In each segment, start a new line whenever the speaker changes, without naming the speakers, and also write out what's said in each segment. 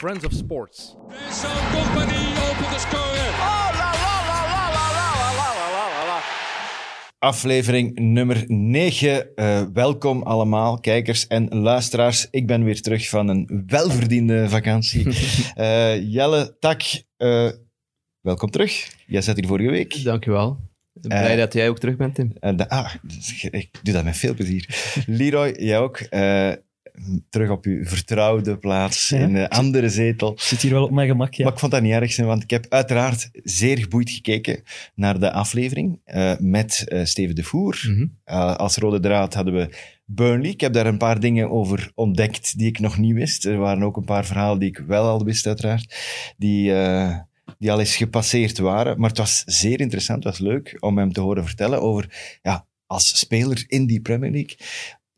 Friends of Sports.
Vincent Company opent de score. Oh, la la la la la la la la la la la.
Aflevering nummer 9. Eh, welkom allemaal, kijkers en luisteraars. Ik ben weer terug van een welverdiende vakantie. Eh, Jelle, Tak, eh, welkom terug. Jij zat hier vorige week.
Dankjewel. Ik ben blij
Eh,
dat jij ook terug bent, Tim.
En da- ah, dus ik- ik doe dat met veel plezier. Leroy, jij ook. eh, terug op uw vertrouwde plaats
Ja.
in de andere zetel.
Ik zit hier wel op mijn gemak, ja.
Maar ik vond dat niet erg, zijn, want ik heb uiteraard zeer geboeid gekeken naar de aflevering eh, met eh, Steven de Voer.
Mhm.
Eh, als rode draad hadden we Burnley. Ik heb daar een paar dingen over ontdekt die ik nog niet wist. Er waren ook een paar verhalen die ik wel al wist, uiteraard, die, eh, die al eens gepasseerd waren. Maar het was zeer interessant, het was leuk om hem te horen vertellen over, ja, als speler in die Premier League.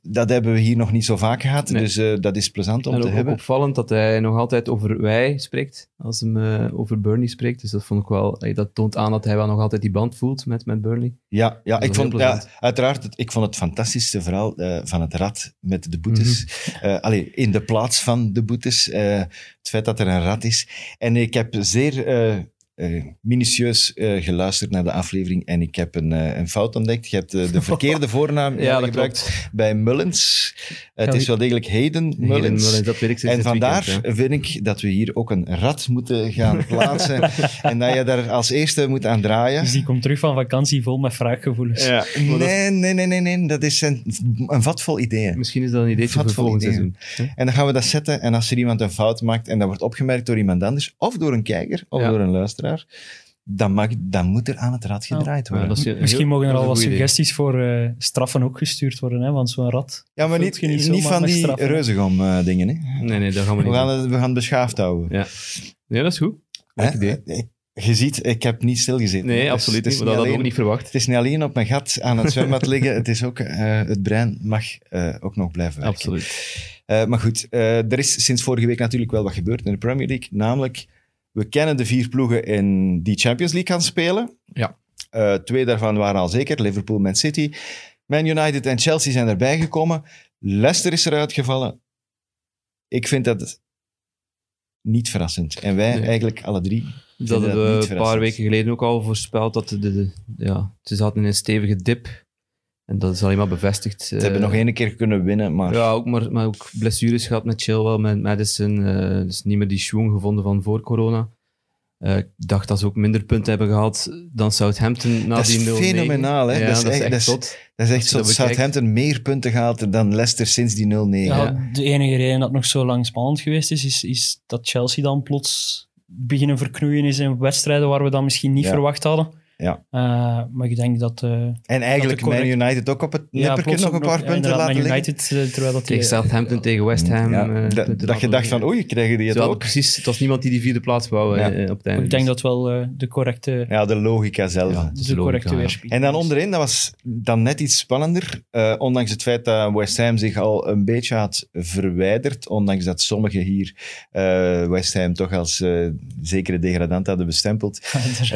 Dat hebben we hier nog niet zo vaak gehad,
Nee.
dus eh, dat is plezant om
En
te
ook, ook
hebben.
opvallend dat hij nog altijd over wij spreekt, als hij eh, over Burnley spreekt. Dus dat vond ik wel, eh, dat toont aan dat hij wel nog altijd die band voelt met, met Burnley.
Ja, ja
Dat is
ik
wel
vond
heel
ja,
plezant.
uiteraard het, ik vond het fantastische verhaal eh, van het rad met de boetes.
Mhm.
Eh, allee, in de plaats van de boetes. eh, het feit dat er een rad is. En ik heb zeer eh, eh, minutieus eh, geluisterd naar de aflevering en ik heb een, eh, een fout ontdekt. Je hebt eh, de verkeerde voornaam
Ja, dat
gebruikt bij Mullins. het
Ja,
is wel degelijk Hayden
Hayden
Mullins.
Mullins, dat weet ik sinds
En
dit
vandaar
weekend, hè.
vind ik dat we hier ook een rad moeten gaan plaatsen. en dat je daar als eerste moet aan draaien.
Dus die komt terug van vakantie vol met vraaggevoelens.
Nee, nee, nee, nee, nee. Dat is een, een vat vol ideeën.
Misschien is dat een idee voor
Vat van
volgend
ideeën.
seizoen. hè?
En dan gaan we dat zetten. En als er iemand een fout maakt en dat wordt opgemerkt door iemand anders, of door een kijker, of
Ja.
door een luisteraar, dan, mag, dan moet er aan het rad gedraaid worden.
Ja, Nou, dat is een
Misschien
heel-
mogen er
dat is
al
een
wat
goed idee.
suggesties voor eh, straffen ook gestuurd worden, hè, want zo'n rat.
ja, maar
Vult
niet,
je niet
niet,
zomaar
van
met
die
straffen, hè?
reuzegom-dingen.
Nee, nee, dat gaan we
we,
niet
gaan
doen.
het, we gaan het beschaafd houden.
Nee, dat is goed. Leuk
Hè? Eh,
idee.
Je ziet, ik heb niet stilgezeten.
Nee,
Het is-
absoluut
het
niet.
is
Maar dat hadden
alleen-
we ook niet verwacht.
Het is niet alleen op mijn gat aan het zwembad liggen. Het is ook, eh, het brein mag eh, ook nog blijven werken.
Absoluut.
Eh, maar goed, eh, er is sinds vorige week natuurlijk wel wat gebeurd in de Premier League. Namelijk, we kennen de vier ploegen in die Champions League gaan spelen.
Ja.
Eh, twee daarvan waren al zeker, Liverpool, Man City. Man United en Chelsea zijn erbij gekomen. Leicester is eruit gevallen. Ik vind dat niet verrassend. En wij
Nee.
eigenlijk alle drie.
Dat
dat
hadden
niet
we een paar
verrassend.
weken geleden ook al voorspeld. Dat de, de- de- ja, ze zaten in een stevige dip. En dat is alleen maar bevestigd.
Eh,
eh,
Ze hebben nog één keer kunnen winnen, maar...
Ja, ook, maar, maar ook blessures gehad met Chilwell, met Madison. eh, dus niet meer die schoen gevonden van voor corona. Eh, ik dacht dat ze ook minder punten hebben gehad dan Southampton na
Dat is
die 0
fenomenaal, hè?
Ja,
Dat is
dat is
echt-
echt
dat is-
zot.
Dat is echt
Als je
zo.
dat bekijkt-
Southampton meer punten gehaald dan Leicester sinds die 0-9.
Ja,
Ja.
De enige reden dat het nog zo lang spannend geweest is, is, is dat Chelsea dan plots beginnen verknoeien is in wedstrijden waar we dan misschien niet
Ja.
verwacht hadden.
Ja.
Eh, maar ik denk dat... eh
En eigenlijk
Dat is
Man
correct.
United ook op het
ja,
nippertje
plots
nog
ook
een paar
ja,
punten
inderdaad,
laten
Man
liggen.
United, eh, terwijl dat die-
Tegen Southampton, tegen West Ham.
Ja,
eh,
dat-
punten
dat je
laten
dacht
liggen.
van, oei, krijgen die
Ze
het
hadden
ook?
precies, het was niemand die die vierde plaats wou eh,
Ja.
eh, op het einde.
Ik denk dat wel eh, de correcte,
Ja, de logica zelf.
Ja. dat is
de correcte
logica, ja.
En
weerspiegeling
dan
is.
onderin, dat was dan net iets spannender. eh, ondanks het feit dat West Ham zich al een beetje had verwijderd. Ondanks dat sommigen hier eh, West Ham toch als eh, zekere degradant hadden bestempeld. Eh,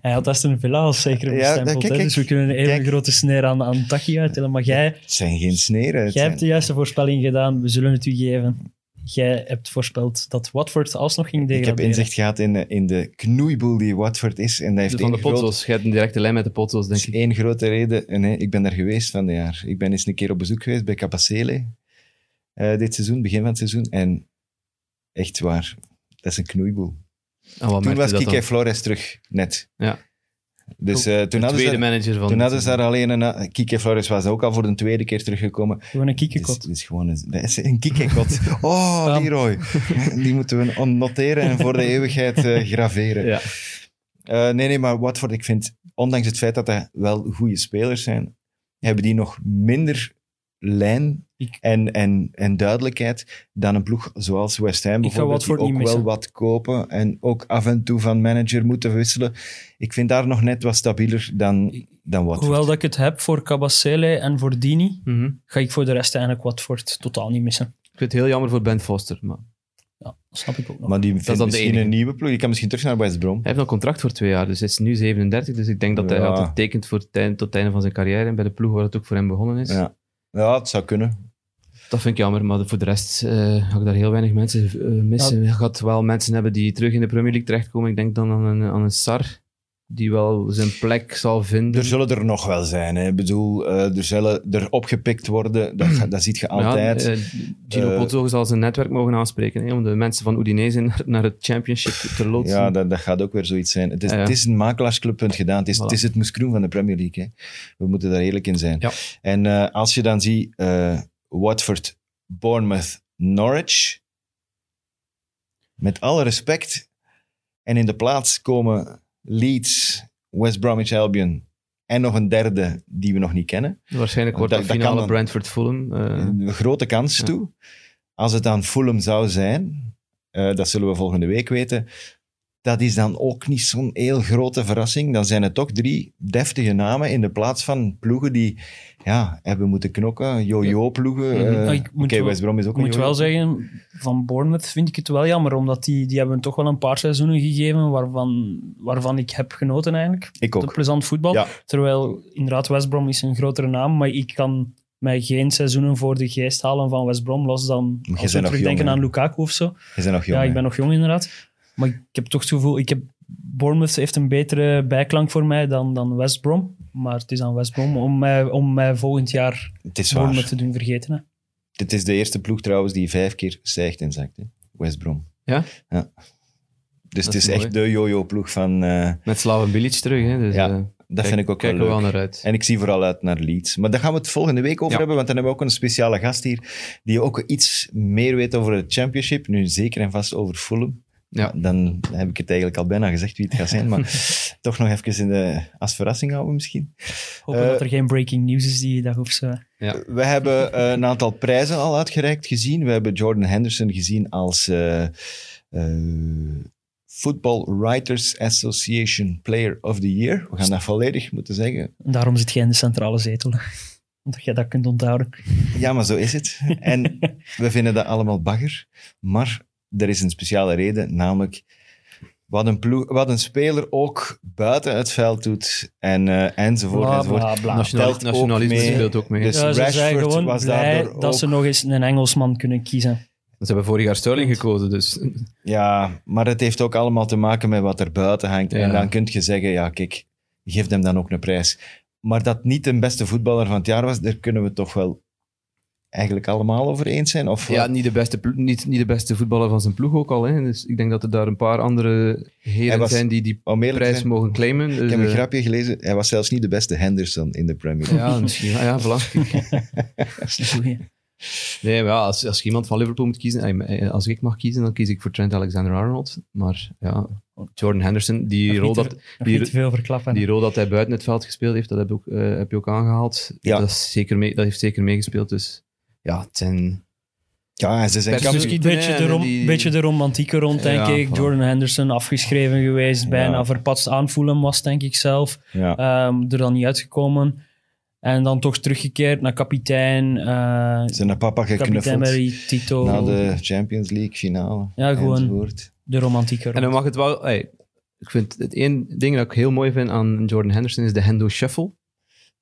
Hij had Aston Villa als zeker
Ja,
bestempeld.
kijk,
hè,
kijk.
dus we kunnen een even
Kijk.
grote sneer aan, aan Taki uittellen. Maar jij,
het zijn geen sneren. het
jij hebt de
zijn-
juiste voorspelling gedaan. We zullen het u geven. Jij hebt voorspeld dat Watford alsnog ging
ik heb
degraderen.
inzicht gehad in, eh, in de knoeiboel die Watford is. En dat heeft
Van de
één groot-
pottos. Je hebt een directe lijn met de pottos, denk
Dat is
ik.
één grote reden. En, hè, ik ben daar geweest van de jaar. Ik ben eens een keer op bezoek geweest bij Capacele. eh, dit seizoen, begin van het seizoen. En echt waar, dat is een knoeiboel.
En Oh, wat
Toen
merkte
was
dat
Kike
dan?
Flores terug, net.
Ja.
Dus eh, toen,
De
hadden ze,
tweede
daar-
manager van...
toen hadden ze daar alleen een... eh, Kike Flores was ook al voor de tweede keer teruggekomen.
Gewoon een
Het is,
kiekekot.
het is gewoon een, dat is een kikkekot. Oh,
Bam.
Leroy. Die moeten we noteren en voor de eeuwigheid eh, graveren.
Ja.
Eh, nee, nee, maar Watford, ik vind, ondanks het feit dat dat wel goede spelers zijn, hebben die nog minder lijn
Ik-
en, en, en duidelijkheid dan een ploeg zoals West Ham
Ik ga
bijvoorbeeld, die
Watford
ook
niet
wel
missen.
wat kopen en ook af en toe van manager moeten wisselen. Ik vind daar nog net wat stabieler dan, dan Watford.
Hoewel dat ik het heb voor Cabasele en voor Dini,
Mhm.
ga ik voor de rest eigenlijk Watford totaal niet missen.
Ik vind het heel jammer voor Ben Foster, maar...
Dat snap ik ook nog.
maar die vindt
dan de
misschien
enige.
een nieuwe ploeg. Die kan misschien terug naar West Brom.
Hij heeft een contract voor twee jaar, dus hij is nu 37. Dus ik denk dat hij
Ja.
altijd tekent voor het einde, tot het einde van zijn carrière. En bij de ploeg waar het ook voor hem begonnen is.
Ja. ja, het zou kunnen.
Dat vind ik jammer, maar voor de rest eh, ga ik daar heel weinig mensen eh, missen. Je gaat wel mensen hebben die terug in de Premier League terechtkomen. Ik denk dan aan een, aan een Sar, die wel zijn plek zal vinden.
Er zullen er nog wel zijn. Hè. Ik bedoel, eh, er zullen er opgepikt worden. Dat, ga- dat ziet je
Maar ja,
altijd.
eh, Gino
Eh,
Pozzo zal zijn netwerk mogen aanspreken, hè, om de mensen van Udinese naar, naar het championship te loodsen.
Ja, dat, dat gaat ook weer zoiets zijn. Het is,
Ja, ja.
het is een makelaarsclubpunt gedaan. Het is,
Voilà.
het is het moeskroen van de Premier League. Hè. We moeten daar eerlijk in zijn.
Ja.
En eh, als je dan ziet eh, Watford, Bournemouth, Norwich. Met alle respect. En in de plaats komen Leeds, West Bromwich Albion. En nog een derde die we nog niet kennen.
Waarschijnlijk wordt
Dat-
de
dat kan
finale
dan.
Brentford-Fulham. eh,
Een grote kans
Ja.
toe. Als het aan Fulham zou zijn, eh, dat zullen we volgende week weten. Dat is dan ook niet zo'n heel grote verrassing. Dan zijn het toch drie deftige namen in de plaats van ploegen die ja, hebben moeten knokken. Jojo-ploegen.
Mhm.
eh,
Maar ik
Oké,
moet wel-
West Brom is ook
Ik
een
moet wel
jojo-ploeg.
zeggen, van Bournemouth vind ik het wel jammer, omdat die, die hebben toch wel een paar seizoenen gegeven waarvan, waarvan ik heb genoten eigenlijk.
Ik
De
ook.
plezant voetbal.
Ja.
Terwijl inderdaad West Brom is een grotere naam, maar ik kan mij geen seizoenen voor de geest halen van West Brom, los dan
jij
als we
bent nog
terugdenken
jong, hè?
aan Lukaku of zo.
Je bent nog jong.
ja, ik
hè?
ben nog jong inderdaad. Maar ik heb toch het gevoel, ik heb, Bournemouth heeft een betere bijklank voor mij dan, dan West Brom. Maar het is aan West Brom om mij, om mij volgend jaar
Het is
Bournemouth
waar.
te doen vergeten. Hè.
Dit is de eerste ploeg trouwens die vijf keer stijgt en zakt. Hè? West Brom.
Ja?
ja. Dus
Dat
het is
is mooi.
echt de jojo-ploeg van... eh,
Met Slaven Bilic terug. Hè, dus,
Ja,
eh,
dat
kijk-
vind ik ook wel
kijken
leuk.
we wel naar uit.
En ik zie vooral uit naar Leeds. Maar daar gaan we het volgende week over
Ja.
hebben, want dan hebben we ook een speciale gast hier die ook iets meer weet over het championship. Nu zeker en vast over Fulham.
Ja.
Dan heb ik het eigenlijk al bijna gezegd wie het gaat zijn, maar toch nog even in de, als verrassing houden misschien.
Hopen
Eh,
dat er geen breaking news is die dag of zo.
We hebben eh, een aantal prijzen al uitgereikt gezien. We hebben Jordan Henderson gezien als eh, eh, Football Writers Association Player of the Year. We gaan dat volledig moeten zeggen.
Daarom zit jij in de centrale zetel. hè. Omdat jij dat kunt onthouden.
Ja, maar zo is het. En We vinden dat allemaal bagger. Maar er is een speciale reden, namelijk wat een, ploeg, wat een speler ook buiten het veld doet en, eh, enzovoort.
Bla,
enzovoort.
bla, bla.
Nationaal,
telt ook
nationalisme
mee.
speelt ook mee.
Dus
Ja, ze zijn
Rashford
gewoon
was
blij
daardoor
dat
ook-
ze nog eens een Engelsman kunnen kiezen.
Ze hebben vorig jaar Sterling gekozen, dus
Ja, maar het heeft ook allemaal te maken met wat er buiten hangt. En
Ja.
dan kun je zeggen, ja kijk, geef hem dan ook een prijs. Maar dat niet de beste voetballer van het jaar was, daar kunnen we toch wel eigenlijk allemaal over eens zijn? Of
ja, niet de, beste, plo- niet, niet de beste voetballer van zijn ploeg ook al. Hè. Dus ik denk dat er daar een paar andere
Hij
heren
was-
zijn die die
om eerlijk te
prijs
zijn,
mogen claimen. Dus,
ik heb een
eh,
grapje gelezen, hij was zelfs niet de beste Henderson in de Premier League.
Ja, misschien. Ah, ja, voilà.
Dat is een goeie.
Nee, maar ja, als, als je iemand van Liverpool moet kiezen, eh, als ik mag kiezen, dan kies ik voor Trent Alexander-Arnold. Maar ja, Jordan Henderson, die
Nog
rol
niet te-
dat,
nog
die-
niet te veel verklappen.
die rol dat hij buiten het veld gespeeld heeft, dat heb, ik ook, eh, heb je ook aangehaald.
Ja.
Dat, is zeker mee, dat heeft zeker meegespeeld. Dus ja, het zijn...
Ja, en ze zijn
Pep
Dus
kampioen.
een
Schieten,
beetje,
hè,
de rom-
die-
beetje de romantiek er rond, denk
Ja,
ik.
voilà.
Jordan Henderson afgeschreven geweest,
Ja.
bijna verpatst aanvoelen was, denk ik zelf.
Ja.
Ehm, er dan niet uitgekomen. En dan toch teruggekeerd naar kapitein. eh
Zijn naar papa
kapitein
geknuffeld
Mary, Tito.
na de Champions League finale.
oh. Ja, gewoon.
enzovoort.
De romantiek er
En dan
rond.
mag het wel... ey, ik vind het één ding dat ik heel mooi vind aan Jordan Henderson is de Hendo Shuffle.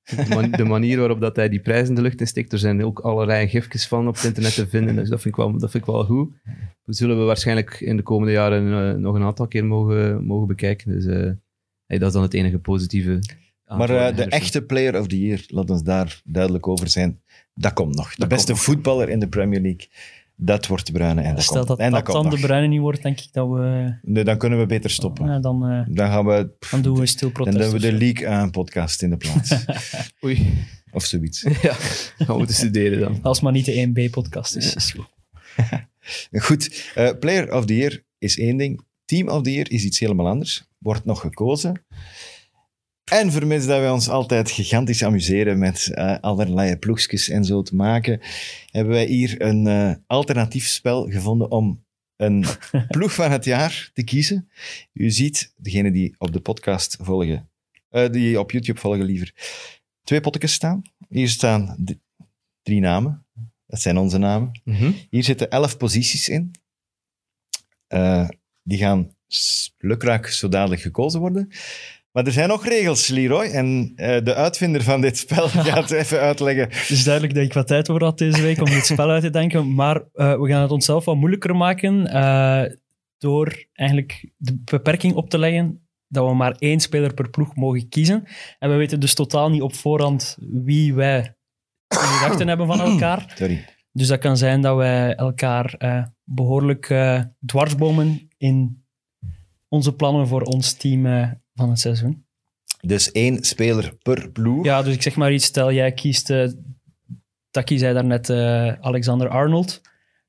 De, man- de manier waarop dat hij die prijs in de lucht instikt. Er zijn ook allerlei gifjes van op het internet te vinden. Dus dat vind ik wel, dat vind ik wel goed. Dat zullen we waarschijnlijk in de komende jaren eh, nog een aantal keer mogen, mogen bekijken. Dus eh, ey, dat is dan het enige positieve. aan
Maar eh,
Jordan
de
Henderson.
echte player of the year, laat ons daar duidelijk over zijn, dat komt nog. De beste
komt
voetballer in de Premier League, dat wordt de Bruyne en dat
Stel
komt,
dat
en
dat,
komt
dan de
nog.
bruine niet wordt, denk ik dat we...
Nee, dan kunnen we beter stoppen.
Ja, dan, eh,
Dan, gaan we,
dan doen we een stil
dan
protest.
doen we de
of zo.
League aan podcast in de plaats.
Oei.
of zoiets.
ja, gaan we moeten studeren dan.
Als het maar niet de 1B-podcast is. is goed.
Goed, eh, player of the year is één ding. Team of the year is iets helemaal anders. Wordt nog gekozen. En vermits dat wij ons altijd gigantisch amuseren met eh, allerlei ploegjes en zo te maken, hebben wij hier een eh, alternatief spel gevonden om een ploeg van het jaar te kiezen. U ziet, degene die op de podcast volgen, eh, die op YouTube volgen liever, twee pottekens staan. Hier staan d- drie namen. Dat zijn onze namen.
Mhm.
Hier zitten elf posities in. Eh, die gaan s- lukraak zo dadelijk gekozen worden. Maar er zijn nog regels, Leroy. En eh, de uitvinder van dit spel gaat even uitleggen.
Het is duidelijk dat ik wat tijd over had deze week om dit spel uit te denken. Maar eh, we gaan het onszelf wat moeilijker maken eh, door eigenlijk de beperking op te leggen dat we maar één speler per ploeg mogen kiezen. En we weten dus totaal niet op voorhand wie wij in gedachten hebben van elkaar.
Sorry.
Dus dat kan zijn dat wij elkaar eh, behoorlijk eh, dwarsbomen in onze plannen voor ons team eh, van het seizoen.
Dus één speler per ploeg.
Ja, dus ik zeg maar iets. Stel, jij kiest... eh Taki zei daarnet eh Alexander Arnold.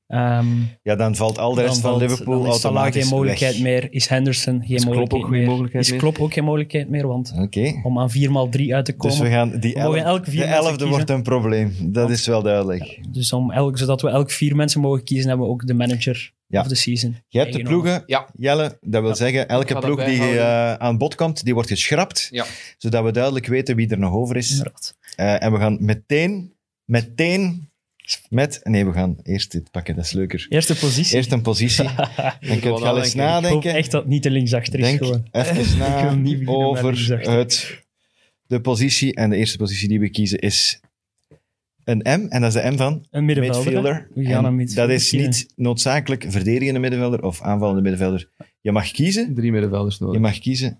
Ehm,
Ja, dan valt al de rest
dan
van
valt-
Liverpool
dan is Salah
automatisch
geen mogelijkheid
weg.
meer. Is Henderson geen
Is Klopp
mogelijkheid
ook geen
meer.
mogelijkheid
Is
meer?
Klopp ook geen mogelijkheid meer, want
Oké.
om aan 4x3 uit te komen...
Dus we gaan die
We mogen
elf-
elk vier
de
mensen
elfde
kiezen.
wordt een probleem. Dat is wel duidelijk.
Dus om elk, zodat we elk vier mensen mogen kiezen, hebben we ook de manager
Ja.
of the season.
Je hebt de
Eigen
ploegen,
Ja.
Jelle, dat wil
Ja.
zeggen,
Ik
elke
ga dat
ploeg die
bijhouden.
eh, aan bod komt, die wordt geschrapt,
Ja.
zodat we duidelijk weten wie er nog over is.
Inderdaad.
Eh, en we gaan meteen, meteen met... Nee, we gaan eerst dit pakken, dat is leuker.
Eerste positie.
Eerst een positie, dan kun je
wel
gaan
nadenken.
eens
Ik hoop
nadenken.
echt dat het niet te linksachter is.
Denk
Gewoon.
even
Ik wil
na
niet beginnen met iets
over
zeggen.
het, de positie. En de eerste positie die we kiezen is een M, en dat is de M van
Een middenvelder.
midfielder.
We gaan
En
een
dat
midfielder
is niet noodzakelijk verdedigende middenvelder of aanvallende middenvelder. Je mag kiezen.
Drie middenvelders
Je
nodig.
mag kiezen.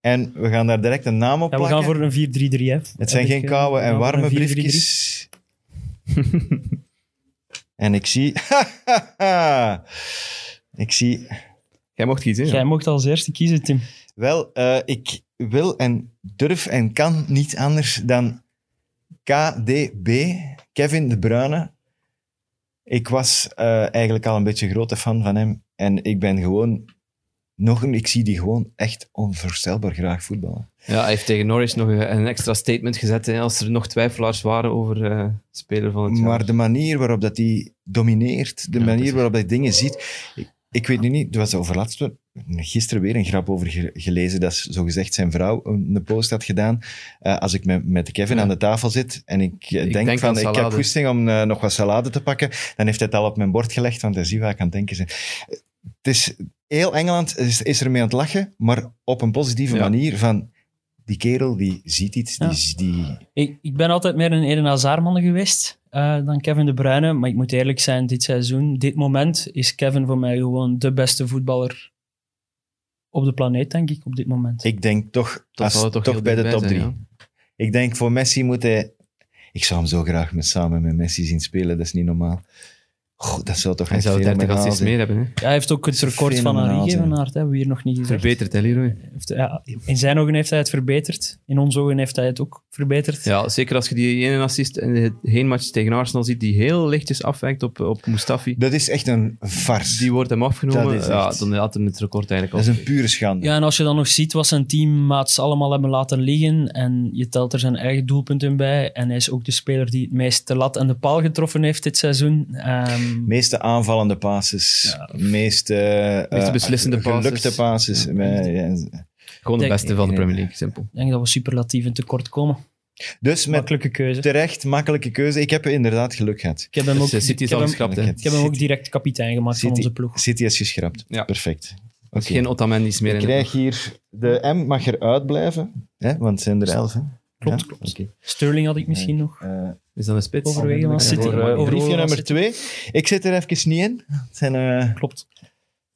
En we gaan daar direct een naam op
Ja, we
plakken.
gaan voor een 4-3-3. hè.
Het zijn
Heb
geen
ik, eh,
koude
we gaan
en
voor
warme
een 4-3-3.
briefjes. en ik zie... ik zie...
Jij mocht kiezen. ja.
Jij mocht als eerste kiezen, Tim.
Wel, eh, ik wil en durf en kan niet anders dan KDB, Kevin De Bruyne. Ik was eh, eigenlijk al een beetje grote fan van hem. En ik ben gewoon... Nog een, ik zie die gewoon echt onvoorstelbaar graag voetballen.
Ja, hij heeft tegen Norwich nog een een extra statement gezet. Hè, als er nog twijfelaars waren over eh speler van het jaar.
Maar de manier waarop dat hij domineert, de
Ja, dat
manier
is-
waarop hij dingen ziet. Ik, ik weet nu niet, er was overlaatst gisteren weer een grap over ge- gelezen dat zogezegd zijn vrouw een, een post had gedaan. Eh, als ik met, met Kevin
Ja.
aan de tafel zit en ik, eh, denk,
Ik denk aan
van ik heb
salade.
goesting om eh, nog wat salade te pakken, dan heeft hij het al op mijn bord gelegd, want hij ziet waar ik aan het denken ben. Het is, heel Engeland is, is ermee aan het lachen, maar op een positieve
Ja.
manier van... Die kerel die ziet iets,
Ja.
die, die,
Ik, ik ben altijd meer een Eden Hazard-man geweest eh, dan Kevin De Bruyne. Maar ik moet eerlijk zijn, dit seizoen, dit moment, is Kevin voor mij gewoon de beste voetballer op de planeet, denk ik, op dit moment.
Ik denk toch,
Dat
als-
zal er
toch,
toch heel
bij de
dichtbij
top drie.
zijn,
Ik denk voor Messi moet hij... Ik zou hem zo graag met, samen met Messi zien spelen, dat is niet normaal. Goh, dat zou toch
Hij
echt
zou 30
fenomenaal
assists
zijn.
meer hebben. Hè.
Ja, hij heeft ook het
Dat is
record van
fenomenaal,
Henri
zeg.
Gevenaert, hebben we hier nog niet gezegd.
Verbeterd, hè, Leroy?
Heeft- eh, ja, in zijn ogen heeft hij het verbeterd. In onze ogen heeft hij het ook verbeterd.
Ja, zeker als je die ene assist in het heenmatch tegen Arsenal ziet, die heel lichtjes afwijkt op, op Mustafi.
Dat is echt een farce.
Die wordt hem afgenomen.
Dat is
ja,
echt-
dan had hem het record
Dat
eigenlijk
is
al.
een pure schande.
Ja, en als je dan nog ziet wat zijn teammaats allemaal hebben laten liggen en je telt er zijn eigen doelpunten bij en hij is ook de speler die het meest de lat en de paal getroffen heeft dit seizoen. Ehm,
Meeste aanvallende passes, meeste, eh,
Meeste beslissende
gelukte
passes.
passes. Maar, ja.
Gewoon de
Denk-
beste van de Premier League, simpel.
Ik denk dat we superlatieven tekort komen.
Dus met
Makkelijke keuze.
terecht makkelijke keuze. Ik heb inderdaad geluk gehad.
Ik heb hem ook,
Dus, eh, City
ik
is
heb
al
hem-
geschrapt. hè.
ik heb hem ook direct kapitein gemaakt van
City-
onze ploeg.
City is geschrapt.
Ja.
Perfect. Oké.
Dus Geen Otamendi's meer
Ik
in de
krijg hier... De M mag eruit blijven, hè? want het zijn er elf. Hè?
Klopt,
Ja?
klopt.
Oké.
Sterling had ik misschien nog.
Eh,
Is dat een spits?
Overwegen van City.
Voor, eh,
Overwegen
Bro-
briefje
Overal
nummer
zit-
twee. Ik zit er even niet in. Het zijn, eh,
Klopt.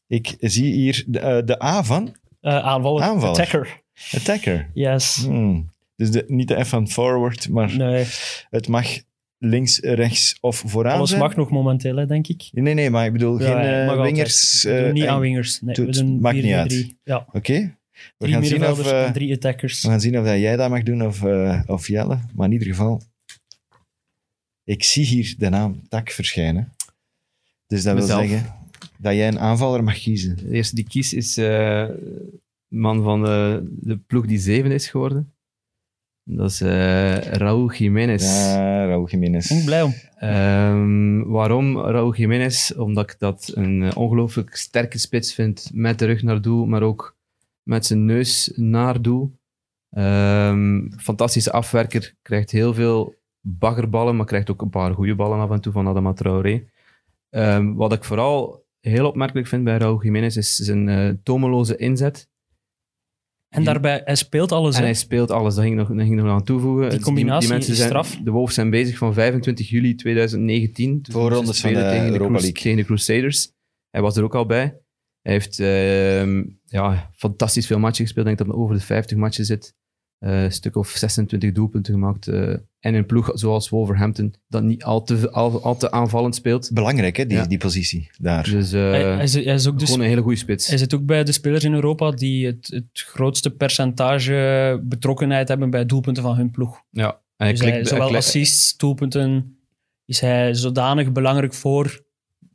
ik zie hier de, eh, de A van
Eh aanvaller.
Aanvaller.
Attacker.
attacker.
Yes.
Hmm. Dus de, niet de F van forward, maar
Nee,
het mag links, rechts of vooraan
alles
zijn.
mag nog momenteel, hè, denk ik.
Nee, nee, maar ik bedoel
Ja,
geen
ja,
eh,
mag altijd.
wingers.
We doen
eh,
niet
en-
aan wingers. Nee,
doet-
we doen
maakt niet
4-3-3. Ja,
Oké. We,
drie
gaan zien of,
middenvelders
eh,
en drie attackers.
we gaan zien of dat jij dat mag doen of, eh, of Jelle. Maar in ieder geval, ik zie hier de naam Tak verschijnen. Dus dat
Mezelf.
wil zeggen dat jij een aanvaller mag kiezen.
De eerste die ik kies is eh man van de, de ploeg die zeven is geworden. Dat is eh Raúl Jiménez.
Ja, Raúl Jiménez.
Ik ben blij om.
Ehm, waarom Raúl Jiménez? Omdat ik dat een eh, ongelooflijk sterke spits vind. Met de rug naar doel, maar ook met zijn neus naar doel. Ehm, fantastische afwerker. Krijgt heel veel baggerballen, maar krijgt ook een paar goede ballen af en toe van Adama Traoré. Ehm, wat ik vooral heel opmerkelijk vind bij Raúl Jiménez is zijn eh tomeloze inzet.
En daarbij, hij speelt alles.
En
hè.
hij speelt alles, dat ging ik nog, dat ging ik nog aan toevoegen.
Die combinatie is
zijn,
straf.
Eh,
De Wolves zijn bezig van 25 juli 2019. toen
Voorrondes
ze
van de
spelen tegen
Europa
Cru-
League.
Tegen de Crusaders. Hij was er ook al bij. Hij heeft ehm, ja, fantastisch veel matchen gespeeld. Ik denk dat hij over de 50 matchen zit. Eh, een stuk of 26 doelpunten gemaakt. eh, en een ploeg zoals Wolverhampton, dat niet al te, al, al te aanvallend speelt.
Belangrijk, hè, die,
Ja.
die positie daar.
Dus eh,
hij, hij, is, hij is ook dus
gewoon een hele goede spits.
Hij zit ook bij de spelers in Europa die het, het grootste percentage betrokkenheid hebben bij doelpunten van hun ploeg.
ja. En hij
dus
klikt-
hij,
hij
zowel
klikt-
assists, doelpunten, is hij zodanig belangrijk voor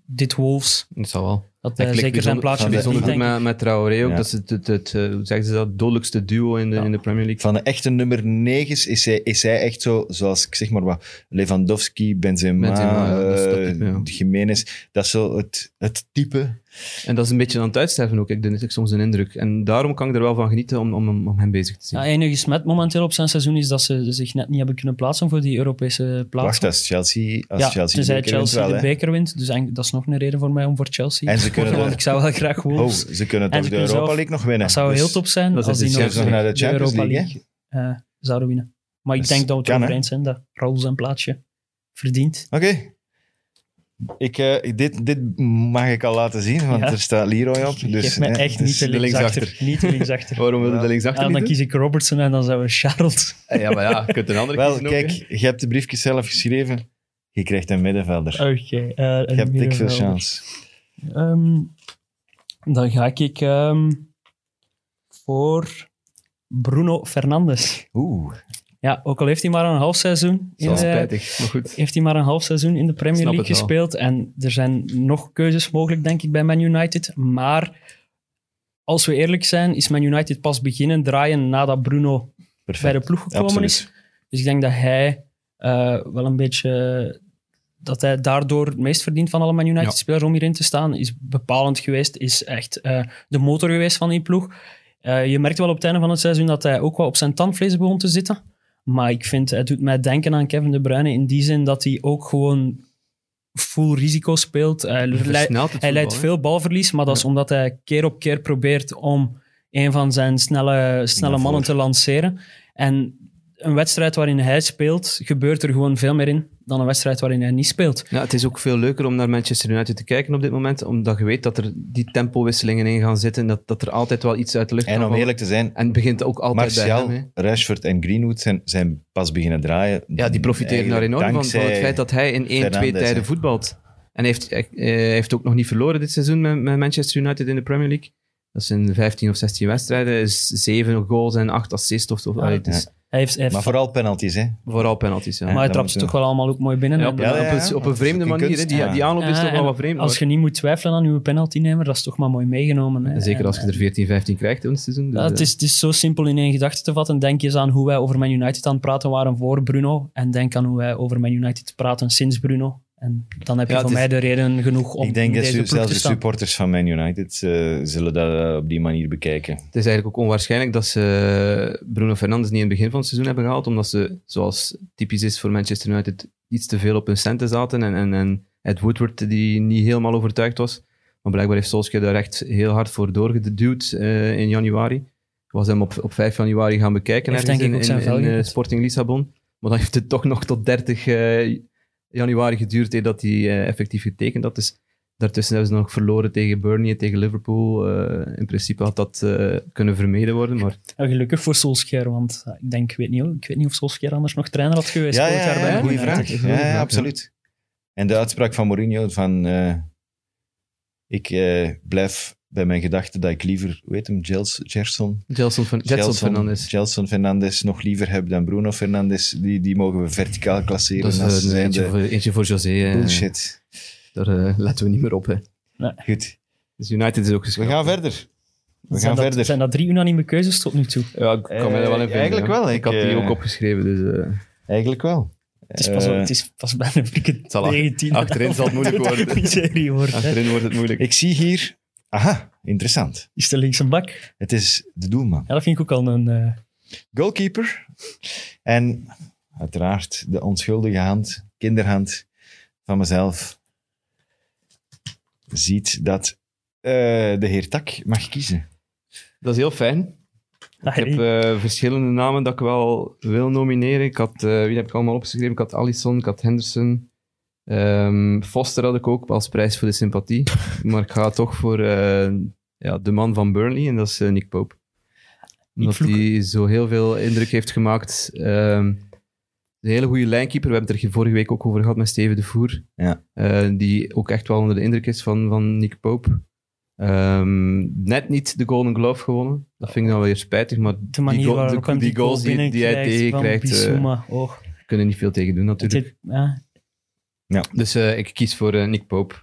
dit Wolves
Dat zal wel.
dat
Hij
hij eh,
klikt
zeker zijn
bijzonder-
plaatsje
van de-
verdient,
Bijzonder goed
denk ik.
met, met Traoré ook.
Ja.
Dat is het, het, het, eh, hoe zeggen ze dat, dodelijkste duo in de,
Ja.
in de Premier League.
Van de echte nummer 9 is hij, is hij echt zo, zoals ik zeg maar wat, Lewandowski, Benzema,
Benzema, ja, dat is dat
eh,
type, ja.
Jiménez. Dat is zo het, het type.
En dat is een beetje aan het uitsterven ook. Ik denk dat ik soms een indruk. En daarom kan ik er wel van genieten om, om, hem- om hem bezig te zien.
Ja, enige smet momenteel op zijn seizoen is dat ze zich net niet hebben kunnen plaatsen voor die Europese
Wacht,
plaatsen.
als Chelsea, als
ja,
Chelsea,
tenzij
beker wint
Chelsea
wel,
de
hè.
beker wint. Dus eigenlijk- dat is nog een reden voor mij om voor Chelsea
En
te
ze kunnen
supporten,
de-
want ik zou wel graag
Oh,
Wolves.
ze kunnen
En
toch
ze
de
kunnen
Europa
zelf-
League nog winnen.
Dat zou
Dus
heel top zijn
dat is
als
het
die nog
zelfs nog
naar de Champions
Europa
League, hè?
League eh, zouden winnen. Maar ik
Dus
denk dat we het
kan,
erover
hè?
eens zijn dat Raul zijn plaatsje verdient.
Oké. Ik, eh, dit, dit mag ik al laten zien, want
Ja.
er staat Leroy op. Dus,
Geef mij
eh,
echt
dus
niet de linksachter. Niet de linksachter.
Waarom wil je de linksachter
Ja, dan
niet
kies ik Robertson en dan zijn we Charles.
doen? Ja, maar ja, je kunt een andere
Wel,
kiezen ook,
kijk,
hè.
je hebt de briefjes zelf geschreven. Je krijgt een middenvelder.
Oké. eh,
je hebt dik veel
middenvelder.
chance.
Ehm, dan ga ik ehm, voor Bruno Fernandes.
Oeh.
Ja, ook al heeft hij maar een half seizoen. in eh,
Zo
de-
spijtig, maar goed.
heeft hij maar een half seizoen in de Premier
Snap
League
het wel.
gespeeld. En er zijn nog keuzes mogelijk, denk ik, bij Man United. Maar als we eerlijk zijn, is Man United pas beginnen draaien nadat Bruno bij
Perfect.
de ploeg gekomen
Absoluut.
is. Dus ik denk dat hij eh, wel een beetje... Dat hij daardoor het meest verdient van alle Man United-spelers om hierin te staan. Is bepalend geweest, is echt eh, de motor geweest van die ploeg. Eh, je merkt wel op het einde van het seizoen dat hij ook wel op zijn tandvlees begon te zitten. Maar ik vind, het doet mij denken aan Kevin De Bruyne in die zin dat hij ook gewoon full risico speelt. Hij
Hij
leidt-
versnelt het
hij leidt
voetbal,
veel balverlies, maar dat is omdat hij keer op keer probeert om een van zijn snelle, snelle
Daarvoor.
mannen te lanceren. En een wedstrijd waarin hij speelt, gebeurt er gewoon veel meer in dan een wedstrijd waarin hij niet speelt.
hè. Ja, het is ook veel leuker om naar Manchester United te kijken op dit moment, omdat je weet dat er die tempowisselingen in gaan zitten en dat, dat er altijd wel iets uit de lucht
En
kan
om
vallen.
eerlijk te zijn,
En het begint ook altijd bij hem. hè.
Martial, Rashford en Greenwood zijn, zijn pas beginnen draaien.
Ja, die profiteren daar
Eigenlijk
enorm van, van
dankzij-
het feit dat hij in één, twee
Fernandes,
tijden
hè.
voetbalt. En hij heeft, eh, hij heeft ook nog niet verloren dit seizoen met, met Manchester United in de Premier League. Dat zijn 15 of 16 wedstrijden, is 7 goals en 8 assists.
Ah,
Of, of,
Ja.
allee, het is
Hij heeft, hij heeft-
Maar
maar,
vooral penalties, hè.
vooral penalties. Ja.
Ja.
hij
dat
trapt
moet
ze
doen.
toch wel allemaal ook mooi binnen.
Ja,
En
op,
dan-
een-
Ja, ja,
op een-
ja.
op een vreemde
Dat is ook een
manier. hè.
kunst,
Die,
ja.
die aanloop is
Ja,
toch wel
en
wat vreemd.
als
maar-
je niet moet twijfelen aan je penaltynemer, dat is toch maar mooi meegenomen. hè.
en zeker als je
En-
er 14, 15 krijgt in het seizoen. Dus,
Ja, het,
eh,
is, het is zo simpel in één gedachte te vatten. Denk eens aan hoe wij over Man United aan het praten waren voor Bruno. En denk aan hoe wij over Man United praten sinds Bruno. En dan heb je
Ja,
voor
het
mij
is-
de reden genoeg om
Ik denk
in
dat
deze
ze-
ploeg
zelfs
te
de
staan.
supporters van Man United eh, zullen dat eh, op die manier bekijken.
het is eigenlijk ook onwaarschijnlijk dat ze Bruno Fernandes niet in het begin van het seizoen hebben gehaald, omdat ze, zoals typisch is voor Manchester United, iets te veel op hun centen zaten. En, en, en Ed Woodward, die niet helemaal overtuigd was. Maar blijkbaar heeft Solskjaer daar echt heel hard voor doorgeduwd eh, in januari. Was hem op, op 5 januari gaan bekijken
Heeft
ergens
denk ik ook
in,
zijn
in,
vel
in, eh,
gehad.
Sporting Lissabon. Maar dan heeft het toch nog tot 30 eh, januari geduurd eh, dat hij eh, effectief getekend had. Dus daartussen hebben ze nog verloren tegen Burnley en tegen Liverpool. Eh, in principe had dat eh, kunnen vermeden worden, maar
En gelukkig voor Solskjaer, want ja, ik denk, ik weet niet, ik weet niet of Solskjaer anders nog trainer had geweest.
Ja,
volgend
ja,
jaar bij
ja,
Man
goede
United.
vraag.
Goeie
Ja,
vraag, ja.
ja, absoluut. En de uitspraak van Mourinho van... eh, ik eh, blijf bij mijn gedachte dat ik liever, hoe heet hem, Jels, Gerson?
Gelson, Fer- Gelson Fernandes.
Gelson Fernandes nog liever heb dan Bruno Fernandes. Die, die mogen we verticaal klasseren.
Dat is
als
eh, een
zijnde
eentje, voor, eentje voor José. eh,
Bullshit.
daar eh, letten we niet meer op. Hè.
Goed,
Dus United is ook
we
geschrapt.
gaan verder. We
Zijn
gaan
dat,
verder.
Zijn dat drie unanieme keuzes tot nu toe?
Ja, ik kan
Eh,
mij daar wel in vinden,
eigenlijk
ja.
wel,
Ik,
ik,
had die
eh,
ook opgeschreven, dus... eh,
Eigenlijk wel.
Het is pas,
Eh,
het is pas bijna week
zal ach-
19.
achterin zal het moeilijk
Dat het
worden.
een serie wordt, hè.
achterin wordt het moeilijk.
Ik zie hier... Aha, interessant.
Is de linkse bak?
Het is de doelman.
Ja, dat vind ik ook al een... eh,
Goalkeeper. En uiteraard de onschuldige hand, kinderhand van mezelf, ziet dat eh, de heer Tak mag kiezen.
Dat is heel fijn.
Ah,
Ik heb
hey.
eh, verschillende namen dat ik wel wil nomineren. Ik had, eh, wie heb ik allemaal opgeschreven? Ik had Allison, ik had Henderson. Ehm, Foster had ik ook als prijs voor de sympathie. maar ik ga toch voor eh, ja, de man van Burnley en dat is eh, Nick Pope. Omdat
vloeken.
hij zo heel veel indruk heeft gemaakt. Ehm, een hele goede lijnkeeper. We hebben het er vorige week ook over gehad met Steven de Voer.
Ja.
Eh, die ook echt wel onder de indruk is van, van Nick Pope. Ehm, net niet de Golden Glove gewonnen. Dat vind ik dan wel weer spijtig, maar
de manier
die, go-
waarop
de-
hem
die goals
goal
die, die hij
binnenkrijgt van
tegenkrijgt, eh,
Bissouma, oh,
kunnen niet veel tegen doen
het
natuurlijk.
zit- ja.
Dus eh, ik kies voor eh, Nick Pope.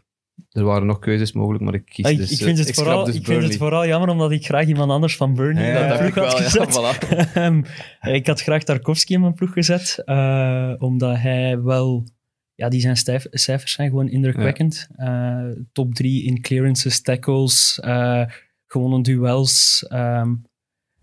Er waren nog keuzes mogelijk, maar ik kies
Ah, ik,
dus,
ik,
eh,
vind het
ik
vooral,
schrap dus
ik vind het
Burnley.
vooral jammer omdat ik graag iemand anders van Burnley
Ja,
in mijn
dat
ploeg
dacht ik
had
wel, ja,
gezet.
voilà.
Ehm, ik had graag Tarkovsky in mijn ploeg gezet, eh, omdat hij wel... Ja, die zijn stijf- cijfers zijn gewoon indrukwekkend. Eh, top drie in clearances, tackles, eh, gewonnen duels, ehm,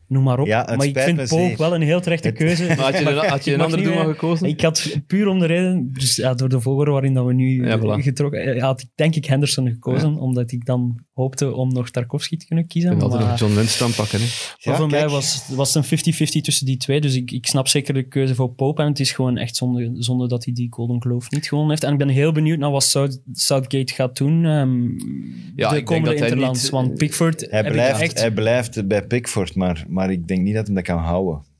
noem maar op.
Ja, het
maar ik
spijt me
vind Pope
zeer.
wel een heel terechte
Het-
keuze.
Maar had je
Maar
een, had je
ik
een
mag
ander
niet,
doel
eh,
gekozen?
Ik had puur om de reden, dus ja, door de volgorde waarin dat we nu
Ja, voilà.
getrokken, eh, had ik denk ik Henderson gekozen, omdat ik dan hoopte om nog Tarkovsky te kunnen
Je
kiezen.
kunt altijd
maar-
nog John Lundstram pakken. Hè.
maar voor mij
kijk.
was, was het een 50-50 tussen die twee. Dus ik, ik snap zeker de keuze voor Pope. En het is gewoon echt zonde, zonde dat hij die Golden Glove niet gewonnen heeft. En ik ben heel benieuwd naar wat South- Southgate gaat doen. ehm,
Ja,
de
ik denk
komende
dat hij
Interlands.
niet- eh,
Want Pickford
Hij
heb ik
blijft,
echt...
hij blijft bij Pickford, maar, maar ik denk niet dat hij dat kan houden.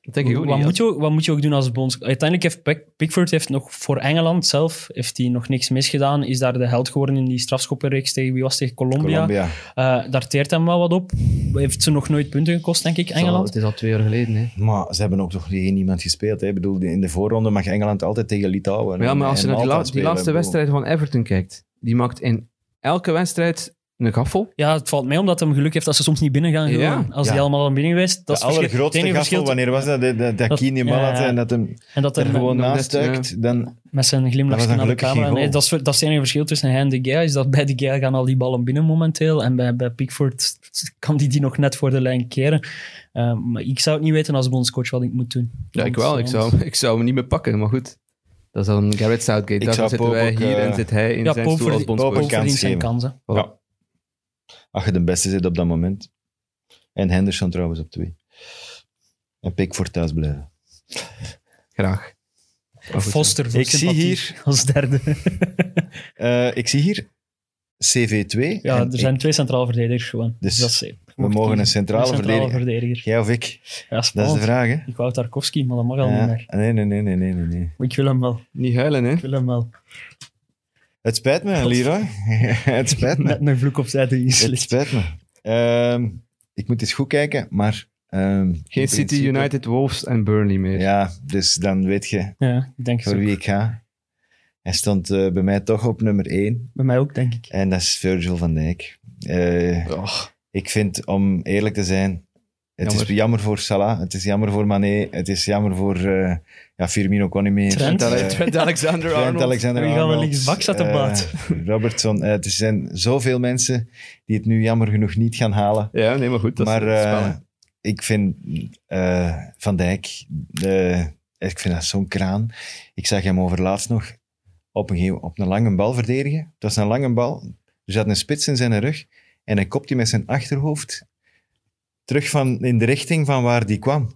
Dat denk ik ook
wat,
niet.
moet
ja.
je, ook- wat moet je ook doen als bonds? Uiteindelijk heeft Pick- Pickford heeft nog voor Engeland zelf heeft hij nog niks misgedaan. Is daar de held geworden in die strafschoppenreeks tegen wie was het? tegen Colombia.
Colombia.
Eh, daar teert hem wel wat op. Heeft ze nog nooit punten gekost, denk ik,
Het is al-
Engeland.
Het is al twee jaar geleden. Hè.
Maar ze hebben ook nog tegen niemand gespeeld. Hè. Ik bedoel, in de voorronde mag Engeland altijd tegen Litouwen.
Maar ja, maar als je
en
naar die,
Malta
la- die
spelen,
laatste
ik bedoel.
wedstrijd van Everton kijkt, die maakt in elke wedstrijd een gaffel.
Ja, het valt mij omdat hem geluk heeft dat ze soms niet binnen gaan.
Ja.
gewoon. Als
Ja.
die allemaal al binnen geweest. Dat
de
is het verschil- het
allergrootste
enige
gaffel,
verschil.
wanneer was dat? Dat, dat, dat
Dat-
Keane die bal
ja,
had
ja.
en dat hem
En dat
er
hij
gewoon
nog net,
naast duikt. Dan,
met zijn
Dat
glimlachje
was een
naar de
gelukkige
camera.
goal.
Nee, dat, is, dat is het enige verschil tussen hij en De Gea. Is dat bij De Gea gaan al die ballen binnen momenteel. En bij, bij Pickford kan die die nog net voor de lijn keren. Ehm, maar ik zou het niet weten als bondscoach wat ik moet doen.
Ja, ik
Want-
wel. Ik zou, ik zou hem niet meer pakken, maar goed. Dat is dan Garrett Southgate.
Ik
Daarom
zou
zitten
Pope
wij
ook,
hier
eh,
en zit hij in
Ja,
zijn
Pope
stoel als
verdient-
Pope
bondscoach.
Pope
kans
verdient zijn
geven.
kansen.
Voilà.
Ja. als je de beste zit op dat moment. En Henderson trouwens op twee. En Pickford thuis blijven.
Graag. Maar goed,
Foster voor
Ik zie
sympathie
hier-
als derde.
Eh, ik zie hier CV2.
Ja,
En
er zijn
ik-
twee centraal verdedigers gewoon.
Dus
dat is, je
we
moet
mogen een
kiezen.
centrale, verdediger.
verdediger.
Jij of ik?
Ja, is
Dat is de
spannend.
vraag, hè?
Ik wou Tarkovsky, maar dat mag al
Ja.
niet meer.
Nee, nee, nee, nee, nee, nee, nee.
Maar Ik wil hem wel.
Niet huilen, hè?
Ik wil hem wel.
Het spijt me, Leroy. het spijt me.
Met een vloek opzij de
Het
is
spijt me. Ehm, ik moet eens goed kijken, maar... ehm, in
Geen City,
principe-
United, Wolves en Burnley meer.
Ja, dus dan weet je
Ja, ik denk het
voor
ook.
wie ik ga. Hij stond eh, bij mij toch op nummer 1.
Bij mij ook, denk ik.
En dat is Virgil van Dijk. Eh,
Och,
ik vind, om eerlijk te zijn... Het
Jammer.
is jammer voor Salah, het is jammer voor Mané, het is jammer voor... eh, ja, Firmino kon niet meer.
Trent.
Trent Ale-
Eh,
Trent Alexander-Arnold.
Alexander
Wie gaan we linksbak zetten, Bart?
Eh, Robertson. Eh, er zijn zoveel mensen die het nu jammer genoeg niet gaan halen.
Ja, nee, maar goed. Dat
maar
is het spel,
eh,
hè.
ik vind eh, Van Dijk, eh, ik vind dat zo'n kraan. Ik zag hem overlaatst nog op een, gege- op een lange bal verdedigen. Het was een lange bal. Er zat een spits in zijn rug en hij kopte met zijn achterhoofd terug van, in de richting van waar die kwam.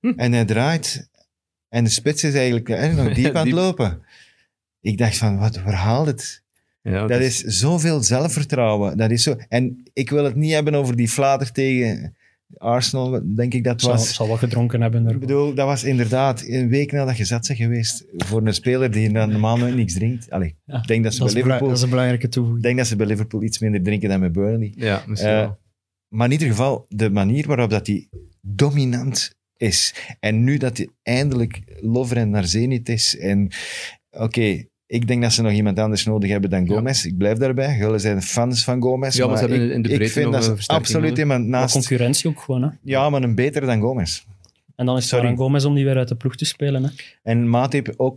Hm.
En hij draait en de spits is eigenlijk eh, nog diep aan het
Diep.
lopen. Ik dacht van, wat verhaal dit?
Ja,
eh,
Oh,
Dat is
dus-
zoveel zelfvertrouwen. Dat is zo... En ik wil het niet hebben over die flater tegen Arsenal, denk ik dat
Zal,
was.
zal wel gedronken hebben.
Ik
Er.
bedoel, dat was inderdaad een week nadat je zat bent geweest voor een speler die na- normaal nooit niks drinkt. Allee,
Ja,
ik denk dat ze
Dat, is
bij
bela-
Liverpool...
dat is een belangrijke
Ik
toevoeging.
denk dat ze bij Liverpool iets minder drinken dan bij Burnley.
Ja, misschien
eh,
wel.
Maar in ieder geval, de manier waarop dat hij dominant is. En nu dat hij eindelijk Lovren naar Zenit is. En oké, ik denk dat ze nog iemand anders nodig hebben dan
Ja.
Gomez. Ik blijf daarbij. Jullie zijn fans van Gomez.
Ja, maar ze hebben
ik,
in de
ik
breedte
vind
nog
dat
een
ze
versterking
absoluut
nodig.
iemand
Maar
naast...
concurrentie ook gewoon. Hè.
Ja, maar een beter dan Gomez.
En dan is het
Sorry.
aan Gomez om die weer uit de ploeg te spelen. Hè.
En Matip ook...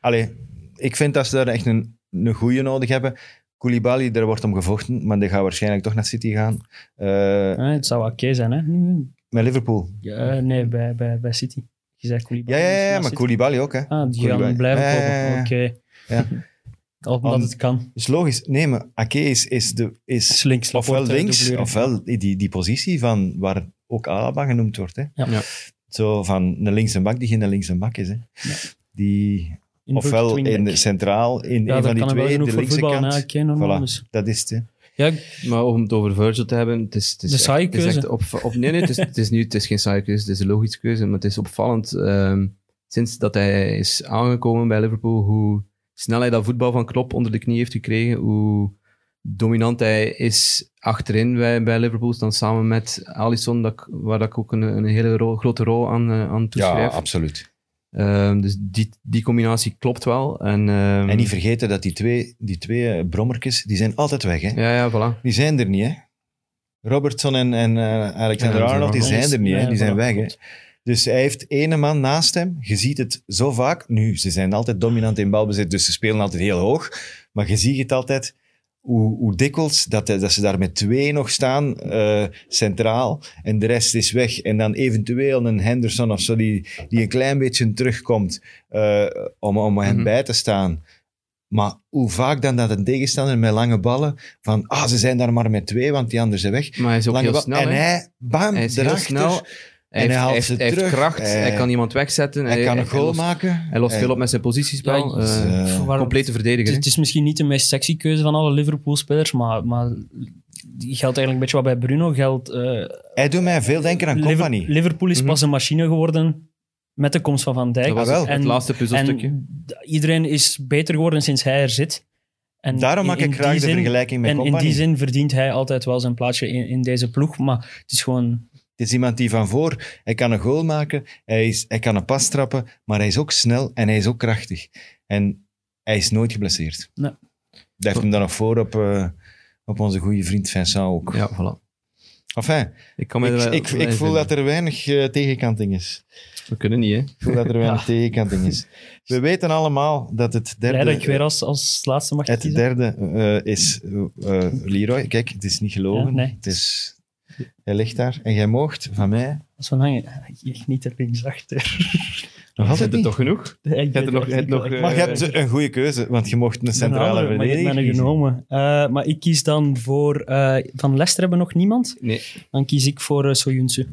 Allee, ik vind dat ze daar echt een, een goeie nodig hebben. Koulibaly, daar wordt om gevochten, maar die gaat waarschijnlijk toch naar City gaan. Eh,
Eh, het zou oké zijn. Hè. Nu-
Met Liverpool.
Ja, eh, nee, bij, bij, bij City. Je zei
Ja,
Koulibaly.
ja,
is
ja,
naar
maar
City.
Koulibaly ook,
Ah,
hè.
die gaan
Koulibaly.
blijven
Ja,
kopen.
ja, ja, ja.
Oké.
Ja.
Omdat
Om-
het kan.
is logisch. Nee, maar Ake is, is, de,
Het
is
is links.
ofwel
Laporte,
links,
dubbeleur.
ofwel die, die positie van waar ook Alaba genoemd wordt. Hè?
Ja.
Ja.
Zo van een linkse bak die geen linkse bak is. Hè?
Ja.
Die, ofwel in de, centraal, in
ja,
een van
daar
die
kan er wel
twee,
genoeg
de
voor
linkse
voetballen.
kant.
hè. Oké, normaal,
Voilà.
dus.
Dat is het. hè.
Ja, ik-
Maar om het over Virgil te hebben, het is, het is
De saaie
echt- het is echt
keuze.
op, op, nee, nee, het is, het is, nu, het is geen saaie keuze, het is een logische keuze, maar het is opvallend ehm, sinds dat hij is aangekomen bij Liverpool, hoe snel hij dat voetbal van Klopp onder de knie heeft gekregen, hoe dominant hij is achterin bij, bij Liverpool, dan samen met Alisson, dat, ik- waar dat ik ook een, een hele rol- grote rol aan, eh, aan toeschrijf.
absoluut.
Ehm, dus die, die combinatie klopt wel. En, ehm,
En niet vergeten dat die twee, die twee eh, brommertjes, die zijn altijd weg. Hè?
Ja, ja, voilà.
Die zijn er niet, hè. Robertson en, en eh, Alexander
Ja,
Arnold, die
dat is
zijn er niet, hè.
waar.
Die zijn
Nee,
weg, hè. Dus hij heeft ene man naast hem. Je ziet het zo vaak. Nu, ze zijn altijd dominant in balbezit, dus ze spelen altijd heel hoog. Maar je ziet het altijd, hoe, hoe dikwijls dat, dat ze daar met twee nog staan, eh, centraal, en de rest is weg. En dan eventueel een Henderson of zo, die, die een klein beetje terugkomt eh, om, om hen
Mhm.
bij te staan. Maar hoe vaak dan dat een tegenstander met lange ballen, van ah, ze zijn daar maar met twee, want die anderen zijn weg.
Maar hij is ook
Lange
heel
bal-
snel.
en
hè.
hij, bam,
Hij is heel
erachter.
snel. Hij,
En
heeft,
hij haalt
hij heeft-
ze
hij heeft
terug.
kracht,
Eh,
hij kan iemand wegzetten.
Hij kan een goal
lost,
maken.
Hij lost
Hij-
veel op met zijn positiespel.
Ja,
Eh,
Dus, eh,
waarom-
complete verdediger.
het,
hè.
het is misschien niet de meest sexy keuze van alle Liverpool-spelers, maar, maar die geldt eigenlijk een beetje wat bij Bruno geldt. eh,
Hij doet mij veel denken aan
Liver-
Company.
Liverpool is
Mhm.
pas een machine geworden met de komst van Van Dijk.
Dat was
Ah, wel.
het, het laatste puzzelstukje.
En d- iedereen is beter geworden sinds hij er zit. En
Daarom
in-
maak ik
in
graag
die
de
zin-
vergelijking met
En in
Company.
die zin verdient hij altijd wel zijn plaatsje in, in deze ploeg. Maar het is gewoon...
Het is iemand die van voor, hij kan een goal maken, hij, is, hij kan een pas trappen, maar hij is ook snel en hij is ook krachtig. En hij is nooit geblesseerd.
Nee.
Dat heeft hem dan nog voor op, eh, op onze goede vriend Vincent ook.
Ja, voilà.
Enfin,
Ik, kan me
ik,
er wel-
ik,
wel
ik
in
voel
vinden.
dat er weinig eh, tegenkanting is.
We kunnen niet, hè.
Ik voel dat er weinig tegenkanting is. We weten allemaal dat het
Blij dat ik weer
derde,
als, als laatste mag
het
kiezen.
derde eh, is eh, eh, Leroy. Kijk, het is niet gelogen.
Ja, nee.
het is, hij ligt daar en jij moogt van mij
Als we hangen, ik niet er linksachter.
nog altijd niet.
toch genoeg?
Ik
er
weet
nog-
echt
je hebt
niet
nog,
wat ik-
eh,
Maar je hebt een goede keuze, want je mocht een centrale
maar ik heb
verdediger
mij nog
kiezen.
genomen. Eh, maar ik kies dan voor... eh, van Leicester hebben we nog niemand.
Nee.
Dan kies ik voor eh, Soyuncu.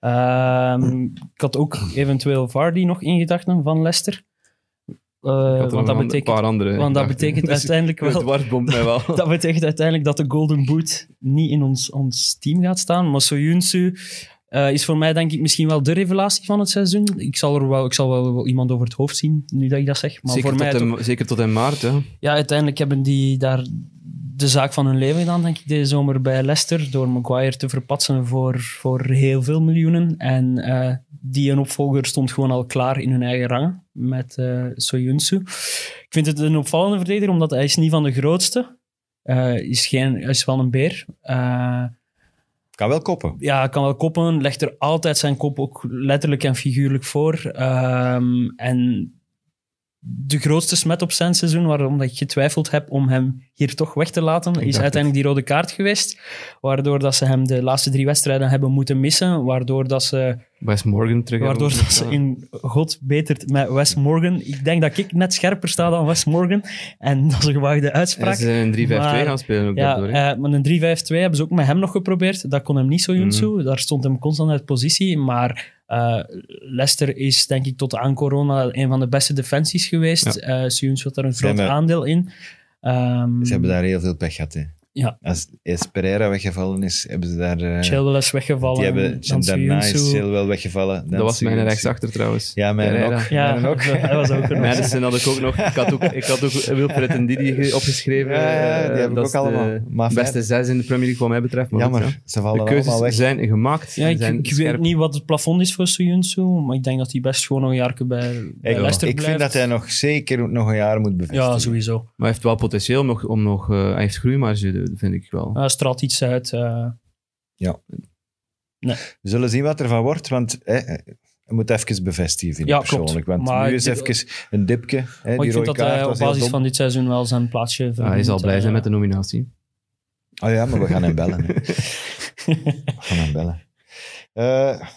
Ehm, ik had ook eventueel Vardy nog in gedachten van Leicester. Eh,
Ik had er
want
nog
dat
een
betekent,
paar andere.
want dat
gedachten.
betekent
Dus
uiteindelijk wel...
Het dwarsboomt mij wel.
Dat betekent uiteindelijk dat de Golden Boot niet in ons, ons team gaat staan. Maar Soyuncu eh, is voor mij denk ik misschien wel de revelatie van het seizoen. Ik zal er wel, ik zal wel, wel iemand over het hoofd zien, nu dat ik dat zeg. Maar
Zeker
voor mij
tot
toch-
in- Zeker tot in maart, hè.
ja, uiteindelijk hebben die daar de zaak van hun leven gedaan, denk ik, deze zomer bij Leicester. Door Maguire te verpatsen voor, voor heel veel miljoenen. En eh, die een opvolger stond gewoon al klaar in hun eigen rangen met eh Soyuncu. Ik vind het een opvallende verdediger, omdat hij is niet van de grootste. Eh is geen, hij is wel een beer. Eh,
Kan wel koppen.
ja, hij kan wel koppen. Legt er altijd zijn kop ook letterlijk en figuurlijk voor. Ehm, en de grootste smet op zijn seizoen, waarom dat ik getwijfeld heb om hem hier toch weg te laten, is
dacht
uiteindelijk die rode kaart geweest. Waardoor dat ze hem de laatste drie wedstrijden hebben moeten missen. Waardoor dat ze,
Wes Morgan terug.
waardoor
hebben we
dat ze
moeten
in God betert met Wes Morgan. Ik denk dat ik net scherper sta dan Wes Morgan. En dat is een gewaagde
staan.
uitspraak.
Hij is eh, in 3-5-2
Maar-
gaan spelen ook
Ja,
daardoor, hè.
eh, maar een 3-5-2 hebben ze ook met hem nog geprobeerd. Dat kon hem niet
Mhm.
zo, Junsu. Daar stond hem constant uit positie. Maar eh Leicester is, denk ik, tot aan corona een van de beste defensies geweest. Eh Soyuncu had daar een
Ze
groot
hebben-
aandeel in. Ehm
Ze hebben daar heel veel pech gehad. Hè.
Ja.
Als is Pereira weggevallen is, hebben ze daar... eh,
Chilwell is weggevallen.
die hebben,
dan
daarna is
Soyuncu.
Sale wel weggevallen. dan
Dat was mijn
Seuntje.
rechtsachter, trouwens.
Ja, mijn
Pereira.
ook.
Ja,
Mijn ook.
hij was ook een
Madison had ik ook nog. Ik had ook, ik had ook Wilfred en Didi ge- opgeschreven.
Ja, ja, die
Eh,
heb ik
dat
ook
is de
allemaal. Maar fijn.
beste zes in de Premier League, wat mij betreft. Maar goed,
Jammer,
ja.
ze
De
vallen allemaal weg.
keuzes zijn gemaakt.
Ja, ik,
zijn
ik weet
scherp.
niet wat het plafond is voor Soyuncu, maar ik denk dat hij best gewoon nog een jaar bij, bij
Ik,
Leicester
ik vind
blijft.
dat hij nog zeker nog een jaar moet bevestigen.
Ja, sowieso.
Maar hij heeft wel potentieel om nog... Om nog eh, hij heeft groeimarge, vind ik wel.
Hij straalt iets uit. eh,
We zullen zien wat er van wordt, want hè, je moet even bevestigen, vind ik
Ja, klopt.
persoonlijk. Want
Maar
nu is
dit-
even een dipje. Hè,
maar
die
ik vind
rode
dat
kaart
hij op
was heel
basis
dom.
van dit seizoen wel zijn plaatsje verdient.
Ja, hij zal blij zijn
eh,
met de nominatie.
Oh ja, maar we gaan hem bellen. hè. we gaan hem bellen. Eh,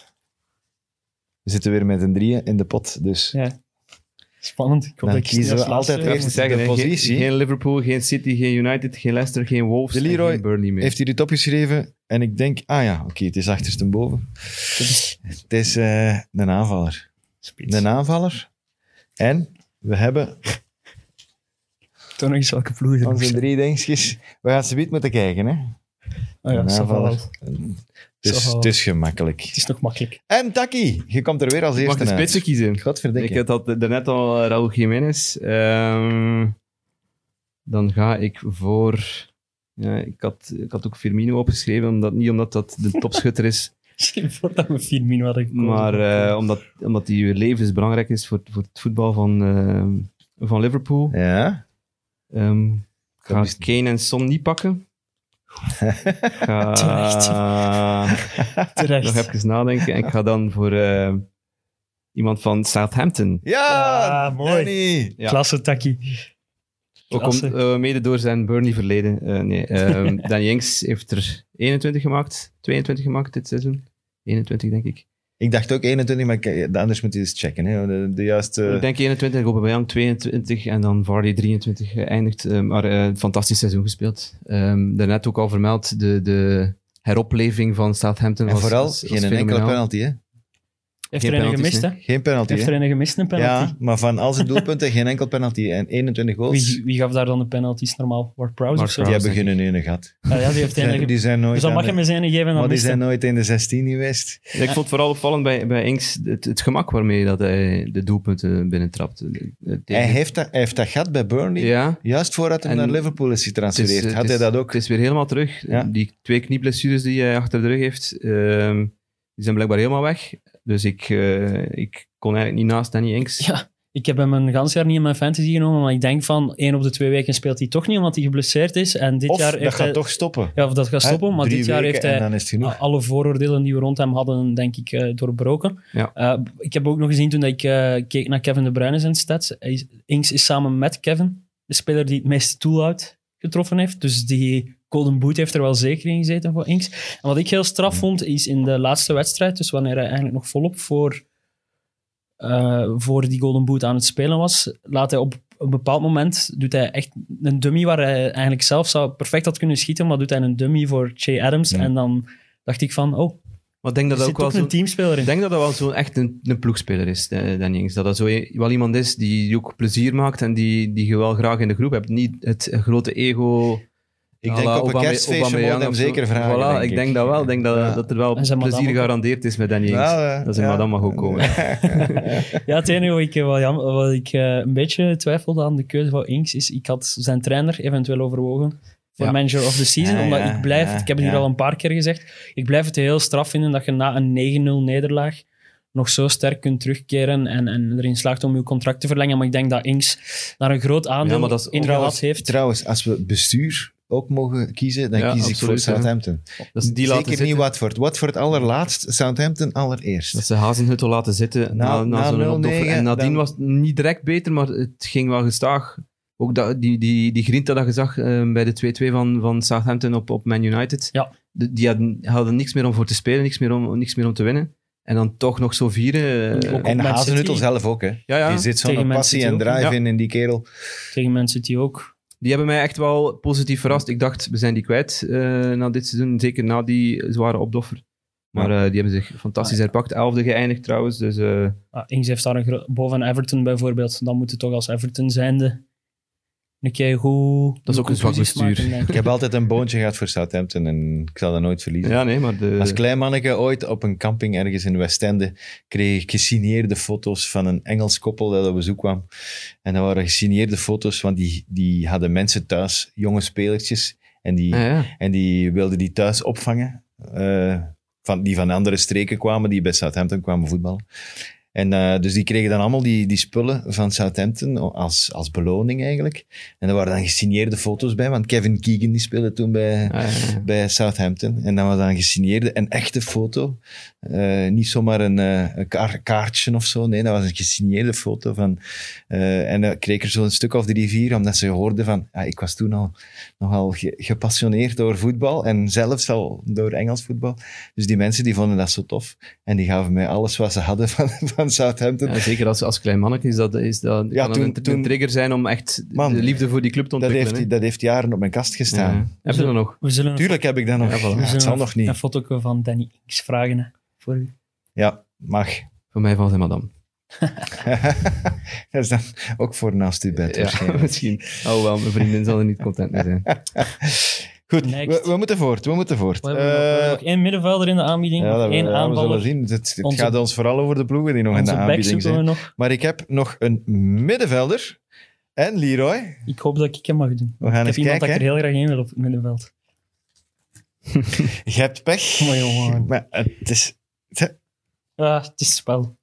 we zitten weer met een drieën in de pot, dus
Ja. Spannend. Ik hoop
Dan
dat ik
kiezen we altijd
Ik
eerst
eerst.
moet zeggen,
de
hè, geen-
positie.
Geen, Liverpool, geen City, geen United, geen Leicester, geen Wolves,
De
en
Leroy
geen Burnley meer.
Heeft hij dit opgeschreven? En ik denk, ah ja, oké, het is achtersteboven. Het is eh een aanvaller. Een aanvaller. En we hebben
Toen nog eens welke ploeg er nog
onze
zijn.
drie dingetjes. We gaan ze niet moeten kijken, hè.
Ah ja,
Een
ça va wel.
aanvaller.
Het
Het
Zal
is,
wel.
het is gemakkelijk.
is nog makkelijk.
En Taki, je komt er weer als
Mag
eerste
de spitsen kiezen?
Godverdikke.
Ik had dat daarnet al eh, Raúl Jiménez. Ehm, dan ga ik voor... Ja, ik, had, ik had ook Firmino opgeschreven, omdat, niet omdat dat de topschutter is,
Misschien voordat we Firmino hadden gekozen.
maar eh, omdat, omdat die levensbelangrijk is voor, voor het voetbal van, ehm, van Liverpool.
Ja,
Ehm, ik ga
Dat is-
Kane en Son niet pakken. Ik ga-
Ah.
Terecht.
nog even nadenken. En ik ga dan voor eh, iemand van Southampton.
ja
Ah, mooi.
Danny.
Ja.
Klasse, Taki.
Ook om,
Klasse.
eh, mede door zijn Burnley verleden. Eh, nee, ehm, Dan Jenks heeft er 21 gemaakt, 22 gemaakt dit seizoen. 21, denk ik.
Ik dacht ook 21, maar ik- anders moet je eens checken. Hè. De, de
ik
juiste...
denk 21, Aubameyang 22 en dan Vardy 23 geëindigd. Eh, maar eh, fantastisch seizoen gespeeld. Ehm, daarnet ook al vermeld, de, de heropleving van Southampton
En
was
vooral,
was- was
geen enkele
fenomenaal.
penalty, hè.
Heeft
Geen
er een
penalties,
gemist, hè?
nee.
Geen penalty,
Heeft
hè.
er een gemist, een penalty?
Ja, maar van al zijn doelpunten geen enkel penalty. En 21 goals,
Wie, wie gaf daar dan de penalties normaal? Ward Prowse
Ward
of zo?
die
Prowse.
hebben geen ene gehad.
Ah, ja, die heeft een
Die zijn nooit
Dus dan
aan
mag
de-
je me zijn een geven en dan
maar die
mist
zijn
hem.
nooit in de 16 geweest.
Ja, ik vond het vooral opvallend bij, bij Inks het, het gemak waarmee dat hij de doelpunten binnentrapt. De- de-
Hij heeft, dat, hij heeft dat gehad bij Burnley,
ja,
juist voordat hij
En
naar Liverpool is
het is, eh,
getransfereerd.
het
Had hij
is-
dat ook?
Het is weer helemaal terug.
Ja.
Die twee knieblessures die hij achter de rug heeft, ehm, die zijn blijkbaar helemaal weg. Dus ik, eh, ik kon eigenlijk niet naast Danny Inks.
Ja. Ik heb hem een gans jaar niet in mijn fantasy genomen, maar ik denk van één op de twee weken speelt hij toch niet, omdat hij geblesseerd is. En dit
Of
jaar
dat
heeft
gaat
hij...
toch stoppen.
Ja, of dat gaat
Hè,
stoppen, maar
drie
dit jaar
weken
heeft
En
hij
dan is het genoeg.
Ah,
alle vooroordelen die we rond hem hadden, denk ik, eh, doorbroken.
Ja.
Eh, ik heb ook nog gezien toen ik eh, keek naar Kevin De Bruyne zijn stats. Hij is- Inks is samen met Kevin de speler die het meeste toelhoud getroffen heeft. Dus die Golden Boot heeft er wel zeker in gezeten voor Inks. En wat ik heel straf vond, is in de laatste wedstrijd, dus wanneer hij eigenlijk nog volop voor, eh, voor die Golden Boot aan het spelen was, laat hij op een bepaald moment doet hij echt een dummy waar hij eigenlijk zelf zou perfect had kunnen schieten, maar doet hij een dummy voor Jay Adams.
Ja.
En dan dacht ik van, oh,
Maar ik denk dat
er
dat
zit
ook wel
toch
zo,
een teamspeler in.
ik denk dat dat wel zo'n echt een, een ploegspeler is, eh, Danny Inks. Dat dat zo e- wel iemand is die, die ook plezier maakt en die, die je wel graag in de groep hebt. Niet het grote ego.
ik
à
denk
la
op een
Obame-
kerstfeestje
Aubameyang
moet hem
of zo.
zeker vragen.
Voilà, ik denk dat wel. Ik denk dat,
Ja.
dat er wel
En zijn
plezier
madame ook.
gegarandeerd is met Danny Ings.
Nou, eh,
dat zijn
ja.
madame mag ook komen.
Ja, het enige wat ik, eh, wel jam- wat ik eh, een beetje twijfelde aan de keuze van Inks is, ik had zijn trainer eventueel overwogen voor
Ja.
manager of the season,
Ja,
omdat
ja,
ik blijf,
ja,
het- ik heb het
ja.
hier al een paar keer gezegd, ik blijf het heel straf vinden dat je na een 9-0 nederlaag nog zo sterk kunt terugkeren en, en erin slaagt om je contract te verlengen. Maar ik denk dat Inks daar een groot aandeel
Ja, maar dat is
in gehad
trouwens-
heeft.
Trouwens, als we bestuur ook mogen kiezen, dan
Ja,
kies ik voor
absoluut, hè.
Southampton.
Dat ze die
Zeker
laten
niet
zitten.
Watford. Watford allerlaatst, Southampton allereerst.
Dat ze Hazenhuttel laten zitten
Na-
na, na,
na
zo'n
0-9
opdoffer. En nadien
dan-
was het niet direct beter, maar het ging wel gestaag. Ook dat, die, die, die grinta dat je zag eh, bij de 2-2 van, van Southampton op, op Man United.
Ja.
De- die hadden, hadden niks meer om voor te spelen, niks meer om, niks meer om te winnen. En dan toch nog zo vieren. eh,
Ook op
en
Man
Hazenhuttel
City.
zelf ook, hè.
ja, ja.
Die zit
Tegen
zo'n
Man
passie
City
en
ook,
drive
ja.
in, in die kerel.
Tegen Man City ook.
Die hebben mij echt wel positief verrast. Ik dacht, we zijn die kwijt eh, na dit seizoen. Zeker na die zware opdoffer. Maar eh, die hebben zich fantastisch herpakt. Elfde geëindigd trouwens. Dus eh,
Ah, Ings heeft daar een gro- boven Everton bijvoorbeeld. Dan moet je toch als Everton zijnde een keer goed.
Dat is ook een zwak
conclusies
bestuur.
maken, denk
Ik
ik.
heb altijd een boontje gehad voor Southampton en ik zal dat nooit verliezen.
ja, nee, maar de,
Als klein manneke ooit op een camping ergens in Westende kreeg ik gesigneerde foto's van een Engels koppel dat op bezoek kwam. En dat waren gesigneerde foto's, want die, die hadden mensen thuis, jonge spelertjes, en die,
Ja, ja.
en die wilden die thuis opvangen. eh, van, die van andere streken kwamen, die bij Southampton kwamen voetballen. En, eh, dus die kregen dan allemaal die, die spullen van Southampton als, als beloning eigenlijk. En er waren dan gesigneerde foto's bij, want Kevin Keegan die speelde toen bij,
Ja, ja, ja.
bij Southampton. En dan was dat een gesigneerde, een echte foto. Eh, niet zomaar een, eh, een kaar- kaartje of zo. Nee, dat was een gesigneerde foto. Van, eh, en dan kreeg ik er zo'n stuk of drie, vier, omdat ze hoorden van... ja, ik was toen al nogal ge- gepassioneerd door voetbal. En zelfs al door Engels voetbal. Dus die mensen die vonden dat zo tof. En die gaven mij alles wat ze hadden van, van aan Southampton.
Ja, zeker als, als klein mannetje is dat, is dat,
Ja,
kan dat
toen-
een, tr-
toen-
een trigger zijn om echt
Man,
de liefde voor die club te
dat,
ontwikkelen.
heeft, dat heeft jaren op mijn kast
hè. Ja.
gestaan.
Heb je dat nog?
We zullen,
Tuurlijk heb ik dat nog.
Ja, voilà.
Ja,
we zullen
het zal
een-
nog niet.
een foto van Danny X vragen. hè, Voor u.
Ja, mag.
Van mij van zijn madame.
dat is dan ook voor naast uw bed
Ja,
waarschijnlijk.
misschien. Oh wel, mijn vriendin zal er niet content mee zijn.
Goed, we,
Next.
we moeten voort. We moeten voort.
We hebben nog- we hebben
Eh,
nog één middenvelder in de aanbieding,
ja,
nog
dat we,
één
ja, we zullen
aanvaller.
zien. Het, het
Onze-
gaat ons vooral over de ploegen die nog in de
Onze back
aanbieding
zoeken we
zijn.
nog.
Maar ik heb nog een middenvelder. En Leroy,
Ik hoop dat ik hem mag doen.
we gaan
Ik heb
eens
iemand dat
kijken.
ik er heel graag in wil op het middenveld.
Je hebt pech.
Maar jongen.
Maar het is,
Ja, Ah, het is spel.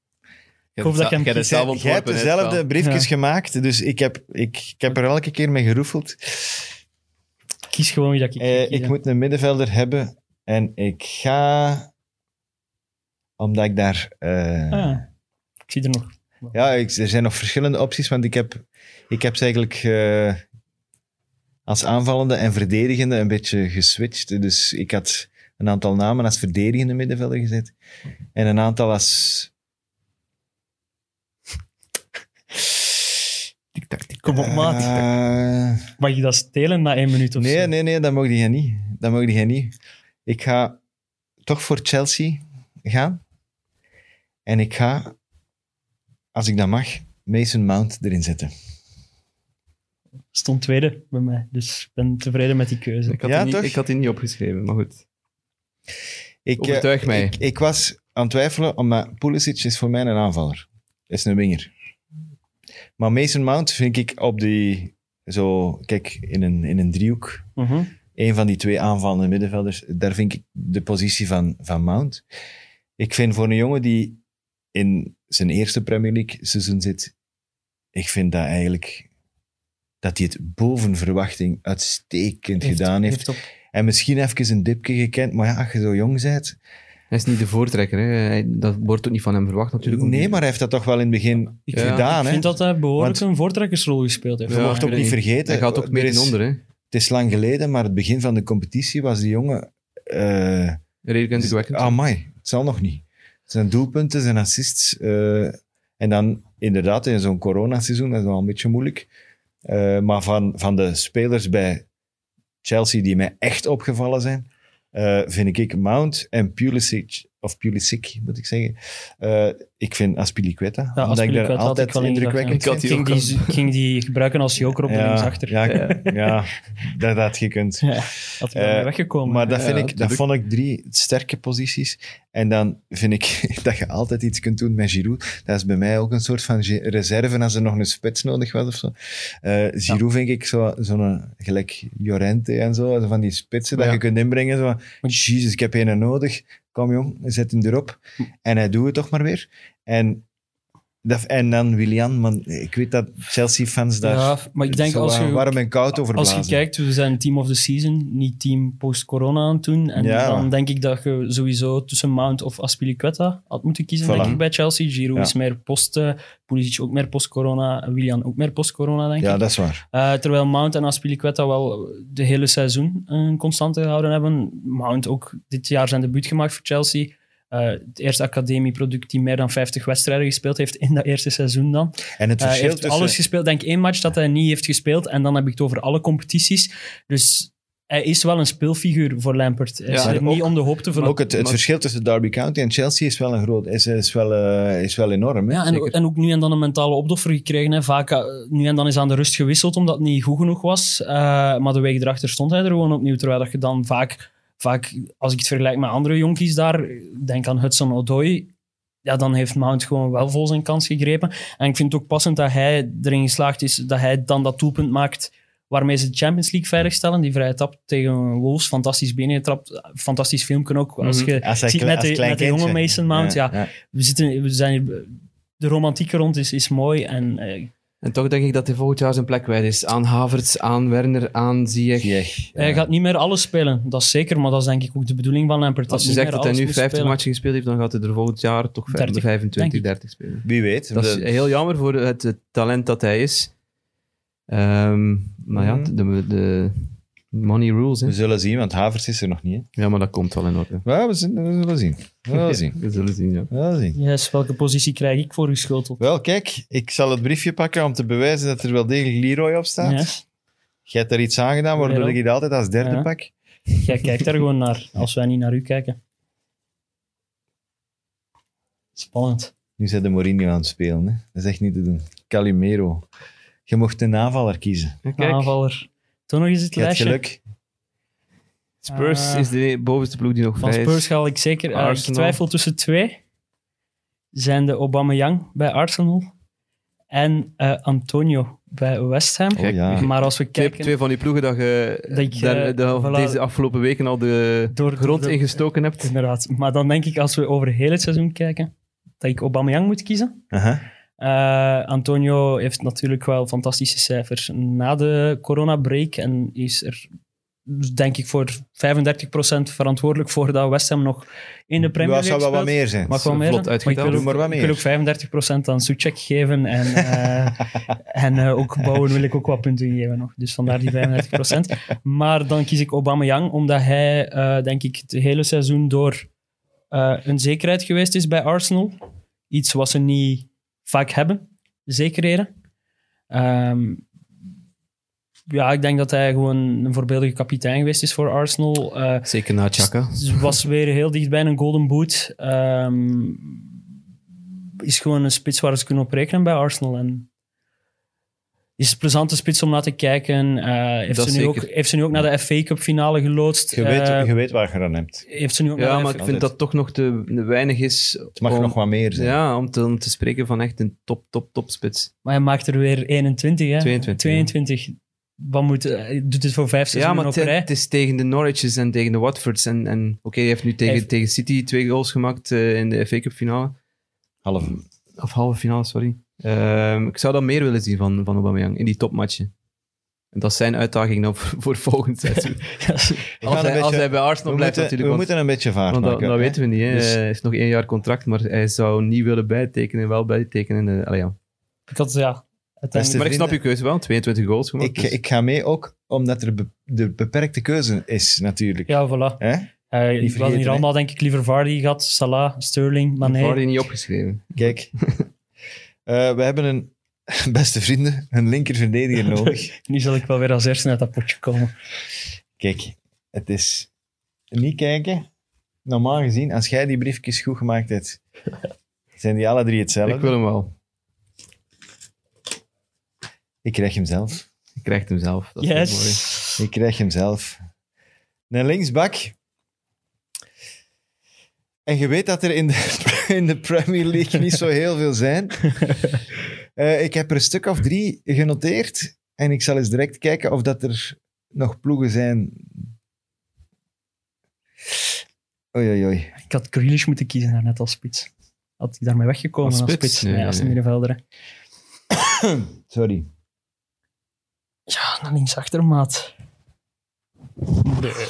Ik
hoop dat ik hem
heb het
kies.
zelf
jij, jij hebt
ontworpen, hè, het
dezelfde
spel.
briefjes
Ja.
gemaakt, dus ik heb, ik, ik heb er elke keer mee geroefeld.
Ik kies gewoon wie dat ik
Eh,
wil
ik
kiezen.
moet een middenvelder hebben en ik ga... Omdat ik daar... eh,
Ah, ik zie er nog.
Ja, ik- er zijn nog verschillende opties, want ik heb, ik heb ze eigenlijk eh, als aanvallende en verdedigende een beetje geswitcht. Dus ik had een aantal namen als verdedigende middenvelder gezet en een aantal als...
Kom op, maat.
Eh,
Mag je dat stelen na één minuut of zo?
Nee, nee, nee, dat mocht jij niet. Dat mocht jij niet. Ik ga toch voor Chelsea gaan. En ik ga, als ik dat mag, Mason Mount erin zetten.
Stond tweede bij mij, dus ik ben tevreden met die keuze.
Ik had,
Ja,
die niet,
toch?
ik had die niet opgeschreven, maar goed.
Ik, eh,
Overtuig mij.
Ik, ik was aan het twijfelen, omdat Pulisic is voor mij een aanvaller. Is een winger. Maar Mason Mount vind ik op die... Zo, kijk, in een, in een driehoek
Mhm.
een van die twee aanvallende middenvelders, daar vind ik de positie van, van Mount. Ik vind voor een jongen die in zijn eerste Premier League seizoen zit, ik vind dat eigenlijk dat hij het boven verwachting uitstekend gedaan heeft.
op-
En misschien even een dipje gekend, maar ja, als je zo jong bent...
Hij is niet de voortrekker, hè. Hij- dat wordt ook niet van hem verwacht natuurlijk. om
Nee,
die-
maar hij heeft dat toch wel in het begin
Ik
vind-
gedaan.
ik
hè?
vind dat hij behoorlijk
Want-
een voortrekkersrol gespeeld heeft.
Je
Ja,
mag het ook
ik
niet
weet niet.
vergeten.
Hij gaat ook
er
meer in
is-
onder, hè.
Het is lang geleden, maar het begin van de competitie was die jongen... eh,
Redelijk indrukwekkend.
Ah, Amai, het zal nog niet. Het zijn doelpunten, zijn assists. eh, en dan inderdaad in zo'n coronaseizoen, dat is wel een beetje moeilijk. Eh, maar van, van de spelers bij Chelsea die mij echt opgevallen zijn, eh, vind ik Mount en Pulisic, of Pulisic moet ik zeggen. Eh, ik vind Aspilicueta,
Ja,
omdat ik daar
Azpilicueta had
altijd
ik wel
indrukwekkend
ingedacht,
ja.
vind.
Ik
Ik
Die
ging
ook
die, ik ging die gebruiken als joker op de
ja,
linksachter.
ja,
Ja.
ja, dat had je kunt.
Had hij daarmee
Eh,
weggekomen.
Maar dat,
Ja,
vind ik, dat
natuurlijk.
vond ik drie sterke posities. En dan vind ik dat je altijd iets kunt doen met Giroud. Dat is bij mij ook een soort van ge- reserve als er nog een spits nodig was of zo. Eh, Giroud vind ik zo- zo'n gelijk Jorente en zo, zo van die spitsen dat
Ja.
je kunt inbrengen. Zo van, jezus, ik heb een nodig. Kom jong, zet hem erop.
Hm.
En hij doet het toch maar weer. En, dat, en dan Willian, man, ik weet dat Chelsea-fans daar...
ja, maar ik denk
zo
als
waar-
je,
warm en koud over
als je
blazen.
kijkt, we zijn team of the season, niet team post-corona aan het doen. En
Ja.
dan denk ik dat je sowieso tussen Mount of Aspilicueta had moeten kiezen,
Voilà.
denk ik, bij Chelsea. Giroud
Ja.
is meer post, eh, Pulisic ook meer post-corona, Willian ook meer post-corona, denk ik.
Ja, dat is waar.
Eh, terwijl Mount en Aspilicueta wel de hele seizoen een constante gehouden hebben. Mount ook dit jaar zijn debuut gemaakt voor Chelsea. Eh, het eerste academieproduct die meer dan 50 wedstrijden gespeeld heeft in dat eerste seizoen dan.
En het
Hij
verschil
heeft
tussen...
alles gespeeld. Denk één match dat hij niet heeft gespeeld. En dan heb ik het over alle competities. Dus hij is wel een speelfiguur voor Lampert. Hij
Ja,
is er
maar
niet
ook-
om de hoop te
Maar ook
verloren.
het, het
maar-
verschil tussen Derby County en Chelsea is wel, een groot, is, is wel, eh, is wel enorm. Hè?
Ja, en,
zeker.
en ook nu en dan een mentale opdoffer gekregen. Hè. Vaak eh, nu en dan is aan de rust gewisseld omdat het niet goed genoeg was. Eh, maar de week erachter stond hij er gewoon opnieuw. Terwijl dat je dan vaak, vaak, als ik het vergelijk met andere jonkies daar, denk aan Hudson Odoi. Ja, dan heeft Mount gewoon wel vol zijn kans gegrepen. En ik vind het ook passend dat hij erin geslaagd is dat hij dan dat doelpunt maakt waarmee ze de Champions League veiligstellen. Die vrije tap tegen Wolves, fantastisch binnengetrapt. Fantastisch filmpje ook. Als
Mhm.
je
Als hij
ziet
kle-
met de,
als klein
met de jonge
kindje.
Mason Mount, ja we, zitten, we zijn hier- de romantiek rond is, is mooi. En eh,
En toch denk ik dat hij volgend jaar zijn plek kwijt is. Aan Havertz, aan Werner, aan Ziyech.
Ziyech, ja.
hij gaat niet meer alles spelen, dat is zeker. Maar dat is denk ik ook de bedoeling van Lampert.
Als je
niet
zegt
meer
dat hij
alles
nu
moet
50
spelen.
matchen gespeeld heeft, dan gaat hij er volgend jaar toch
30,
25,
denk
30 spelen.
Wie weet.
Dat is
de-
heel jammer voor het, het talent dat hij is. Ehm, maar ja,
Mhm. Dus-
de, de, Money rules, hè.
We zullen zien, want Havers is er nog niet.
Ja, maar dat komt wel in orde.
Hè? Ja, we, zullen, we zullen zien. We zullen zien.
We zullen zien, ja.
We zullen zien.
Yes, welke positie krijg ik voor geschoteld?
Wel, kijk, ik zal het briefje pakken om te bewijzen dat er wel degelijk Leroy op staat.
Yes.
Jij hebt er iets aan gedaan, waardoor
Jawel.
ik het altijd als derde
Ja.
pak.
Jij kijkt daar gewoon naar, als wij niet naar u kijken. Spannend.
Nu zijn de Mourinho aan het spelen. Hè? Dat is echt niet te doen. Calimero. Je mocht een aanvaller kiezen.
Nou, Aanvaller. Toen nog eens het
Je hebt
lijstje.
geluk.
Spurs
Ah.
is de bovenste ploeg die nog
Van
vrij is.
Spurs haal ik zeker. eh, ik
Arsenal.
twijfel tussen twee. Zijn de Aubameyang bij Arsenal en eh, Antonio bij West Ham.
Oh ja.
Maar als we
Ah. Twee,
kijken
twee van die ploegen dat je
Dat ik,
daar-
eh,
dat-
voilà.
deze afgelopen weken al de
door door
grond
de-
ingestoken hebt.
Inderdaad. Maar dan denk ik, als we over heel het seizoen kijken, dat ik Aubameyang moet kiezen.
Aha.
Eh, Antonio heeft natuurlijk wel fantastische cijfers na de coronabreak en is er denk ik voor 35% verantwoordelijk voor dat West Ham nog in de Premier
Ja,
League
zou wel wat
speelt.
meer zijn.
Mag wel
Vlot
meer. zijn, Maar ik
uitgedaan.
wil
Doe
ook,
maar wat
ik wil
meer.
ook 35% aan Suchek geven. En, eh, en eh, ook bouwen wil ik ook wat punten geven nog. Dus vandaar die 35%. maar dan kies ik Aubameyang, omdat hij, eh, denk ik, het hele seizoen door eh, een zekerheid geweest is bij Arsenal. Iets wat ze niet vaak hebben, zekerheden. Ehm, ja, ik denk dat hij gewoon een voorbeeldige kapitein geweest is voor Arsenal. Eh,
Zeker na Chaka.
ze was weer heel dichtbij een golden boot. Ehm, is gewoon een spits waar ze kunnen op rekenen bij Arsenal. En is een plezante spits om naar te kijken. Eh, heeft,
Dat
ze nu ook,
zeker.
heeft ze nu ook naar de FA Cup finale geloodst.
Je weet,
Eh,
je weet waar je aan hebt.
heeft ze nu ook naar
Ja,
de
maar
FA
ik vind dat toch nog te te weinig is.
Het mag
om,
nog wat meer zijn.
Ja, om te, om te spreken van echt een top, top, top spits.
Maar hij maakt er weer 21, hè?
22,
22. Wat moet, hij doet dit voor vijf
Ja,
seizoenen
maar
op
het,
rij.
het is tegen de Norwiches en tegen de Watfords. En, en oké, hij heeft nu tegen,
Hij heeft-
tegen City twee goals gemaakt eh, in de FA Cup finale.
Half.
Of halve finale, sorry. Ehm, ik zou dat meer willen zien van, van Aubameyang in die topmatchen. En dat is zijn uitdaging dan voor, voor volgend seizoen.
ga
als,
een
hij, als
beetje-
hij bij
We,
Arsenal
moeten,
blijft
we
natuurlijk. want-
moeten een beetje vaart
want dat,
maken.
dat
hè.
weten we niet. Hè.
Dus-
Hij heeft nog één jaar contract, maar hij zou niet willen bijtekenen. Wel bijtekenen. eh, allee, ja.
Ik had, ja, uiteindelijk...
Maar ik snap
vrienden-
je keuze wel. 22 goals gemaakt.
ik,
dus-
ik ga mee ook omdat er be- de beperkte keuze is, natuurlijk.
Ja, voilà.
Hè?
Eh, we
vergeten,
hadden hier
hè.
allemaal, denk ik, liever Vardy gehad, Salah, Sterling, Mané.
Vardy niet opgeschreven.
Kijk, Eh, we hebben een, beste vrienden, een linkerverdediger nodig.
Nu zal ik wel weer als eerste uit dat potje komen.
Kijk, het is niet kijken. Normaal gezien, als jij die briefjes goed gemaakt hebt, zijn die alle drie hetzelfde.
Ik
Ik,
wil hem wel.
krijg hem zelf.
Ik krijg hem zelf. Dat is wel mooi.
Yes.
Ik krijg hem zelf. Een linksbak. En je weet dat er in de, in de Premier League niet zo heel veel zijn. Eh, ik heb er een stuk of drie genoteerd. En ik zal eens direct kijken of dat er nog ploegen zijn. Oei, oei, oei.
Ik had Grealish moeten kiezen daarnet als spits. Had ik daarmee weggekomen
Als
als spits?
spits? Nee,
Nee, als
nee.
middenvelder. hè.
Sorry.
Ja, een linksachtermaat.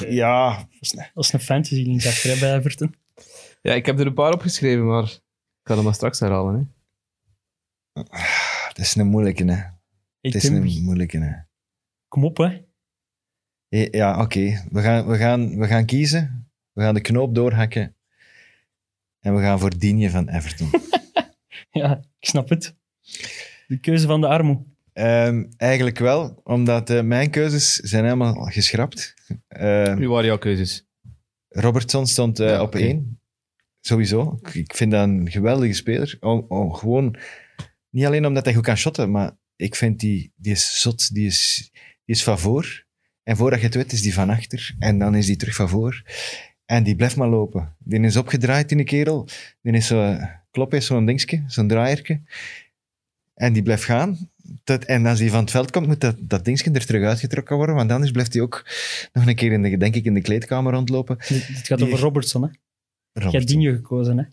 Ja,
Dat is een- dat is een fantasy linksachter hè, bij Everton.
Ja, ik heb er een paar opgeschreven, maar ik kan hem maar straks herhalen. Hè.
het is een moeilijke, hè.
Hey,
Het is
Tim,
een moeilijke, hè.
kom op hè.
Eh, Ja, oké. We, gaan, we, gaan, we gaan kiezen. We gaan de knoop doorhakken. En we gaan voor Digne van Everton.
Ja, ik snap het. De keuze van de armoe.
Ehm, eigenlijk wel, omdat eh, mijn keuzes zijn helemaal geschrapt. Ehm,
Nu waren jouw keuzes.
Robertson stond eh,
Ja,
op
oké.
één. Sowieso. Ik- Ik vind dat een geweldige speler. Oh, oh, gewoon, niet alleen omdat hij goed kan shotten, maar ik vind die, die is zot, die is, die is van voor. En voordat je het weet, is die van achter. En dan is die terug van voor. En die blijft maar lopen. Die is opgedraaid in de kerel. Die is zo, klop is zo'n dingetje, zo'n draaierke. En die blijft gaan. Dat, en als die van het veld komt, moet dat, dat dingetje er terug uitgetrokken worden. Want anders blijft hij ook nog een keer, in de, denk ik, in de kleedkamer rondlopen.
Dit dit gaat
Die-
over Robertson hè. Je hebt
Robertson.
Digne gekozen hè.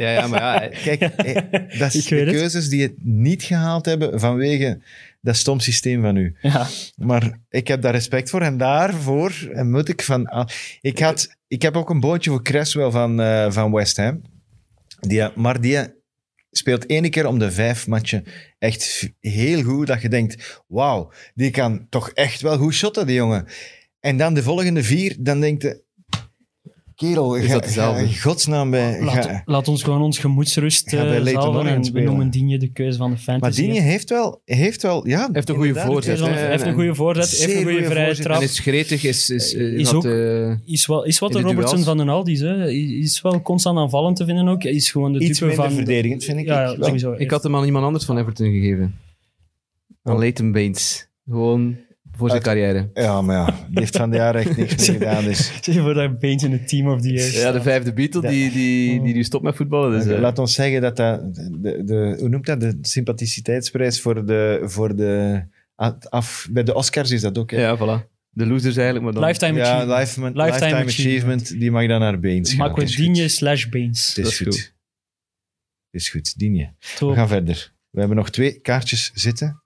Ja, ja maar ja, hij-
Kijk, eh, dat
Ik
is de
weet het.
keuzes die het niet gehaald hebben vanwege dat stom systeem van u.
Ja.
Maar ik heb daar respect voor en daarvoor moet ik van... ah, Ik, had, ik heb ook een bootje voor Creswell van, eh, van West Ham. Die, maar die speelt ene keer om de vijf matchen echt f- heel goed. Dat je denkt, wauw, die kan toch echt wel goed shotten, die jongen. En dan de volgende vier, dan denkt je... Kerel,
Is
ga,
dat
ga
hetzelfde?
in godsnaam bij...
Laat,
ga-
laat ons gewoon ons gemoedsrust
Ga bij
eh,
Leighton
zalven
Orient
en we
spelen.
noemen Digne de keuze van de
maar
fantasy.
Digne heeft wel... Heeft wel ja,
heeft een goede
inderdaad,
Keuze
voorzet.
van de-
hè,
heeft een
en-
goede voorzet,
Zeer
heeft een goede
goede
vrije
voorzet.
trap.
En is gretig, is, is, is,
Is
dat,
ook-
eh,
Is, wel, is wat
in
de
de
Robertson
duels.
van den Aldi's. Hè. Is is wel constant aanvallend te vinden ook. Is gewoon de
Iets
type
minder
van...
verdedigend, vind ik.
ja,
wel.
sowieso.
ik had hem aan iemand anders van Everton gegeven. Aan Leighton Baines. Gewoon voor zijn
Uit-
carrière.
Ja, maar ja, die heeft van de jaren echt niks meer gedaan. Dus.
Stel je voor dat Baines in het team of die is.
Ja, de vijfde Beatle die, die, die, die stopt met voetballen. Dus, eh,
Laat ons zeggen dat dat... De, de, hoe noemt dat? De sympathiciteitsprijs voor de... Voor de af, bij de Oscars is dat ook, hè?
ja, voilà. De losers eigenlijk, maar dan...
Lifetime
Ja,
achievement.
lifetime, lifetime, achievement, die mag dan naar Beens gaan.
Marco
Het is goed.
Digne slash Baines.
Het
Dat
is
is
goed.
goed.
Het is goed, Digne. We
Top.
gaan verder. We hebben nog twee kaartjes zitten.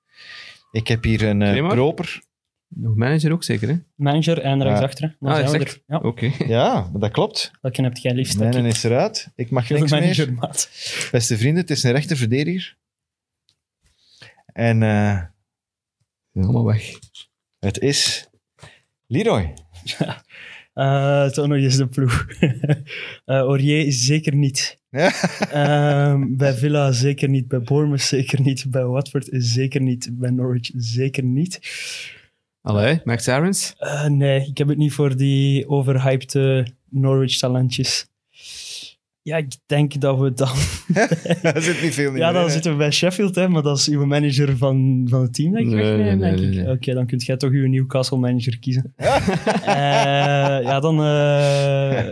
Ik heb hier een eh,
Twee maar?
proper.
Nog Manager ook zeker, hè?
Manager en
Ja.
rechtsachter. Dan
Ah,
zijn we
exact.
er. Ja,
Oké.
Ja, maar dat klopt.
welke heb jij liefst?
Mijn
denk ik.
is eruit. Ik mag
Heel
niks
veel
meer.
manager, maat.
Beste vrienden, het is een rechter verdediger. En eh,
Helemaal weg.
het is Leroy.
Eh, Tono is de ploeg. Eh Aurier zeker niet.
Ja.
Ehm, bij Villa zeker niet. Bij Bournemouth zeker niet. Bij Watford zeker niet. Bij Norwich zeker niet.
Allee, Max Aarons.
Eh, nee, ik heb het niet voor die overhypte Norwich-talentjes. Ja, ik denk dat we dan...
Daar zit niet veel in.
Ja, dan
hè?
zitten we bij Sheffield, hè, maar dat is uw manager van, van het team, denk ik.
Nee,
wegnemen,
nee, nee,
denk ik.
nee, nee.
Oké, dan kunt jij toch uw Newcastle-manager kiezen. Eh, ja, dan... eh,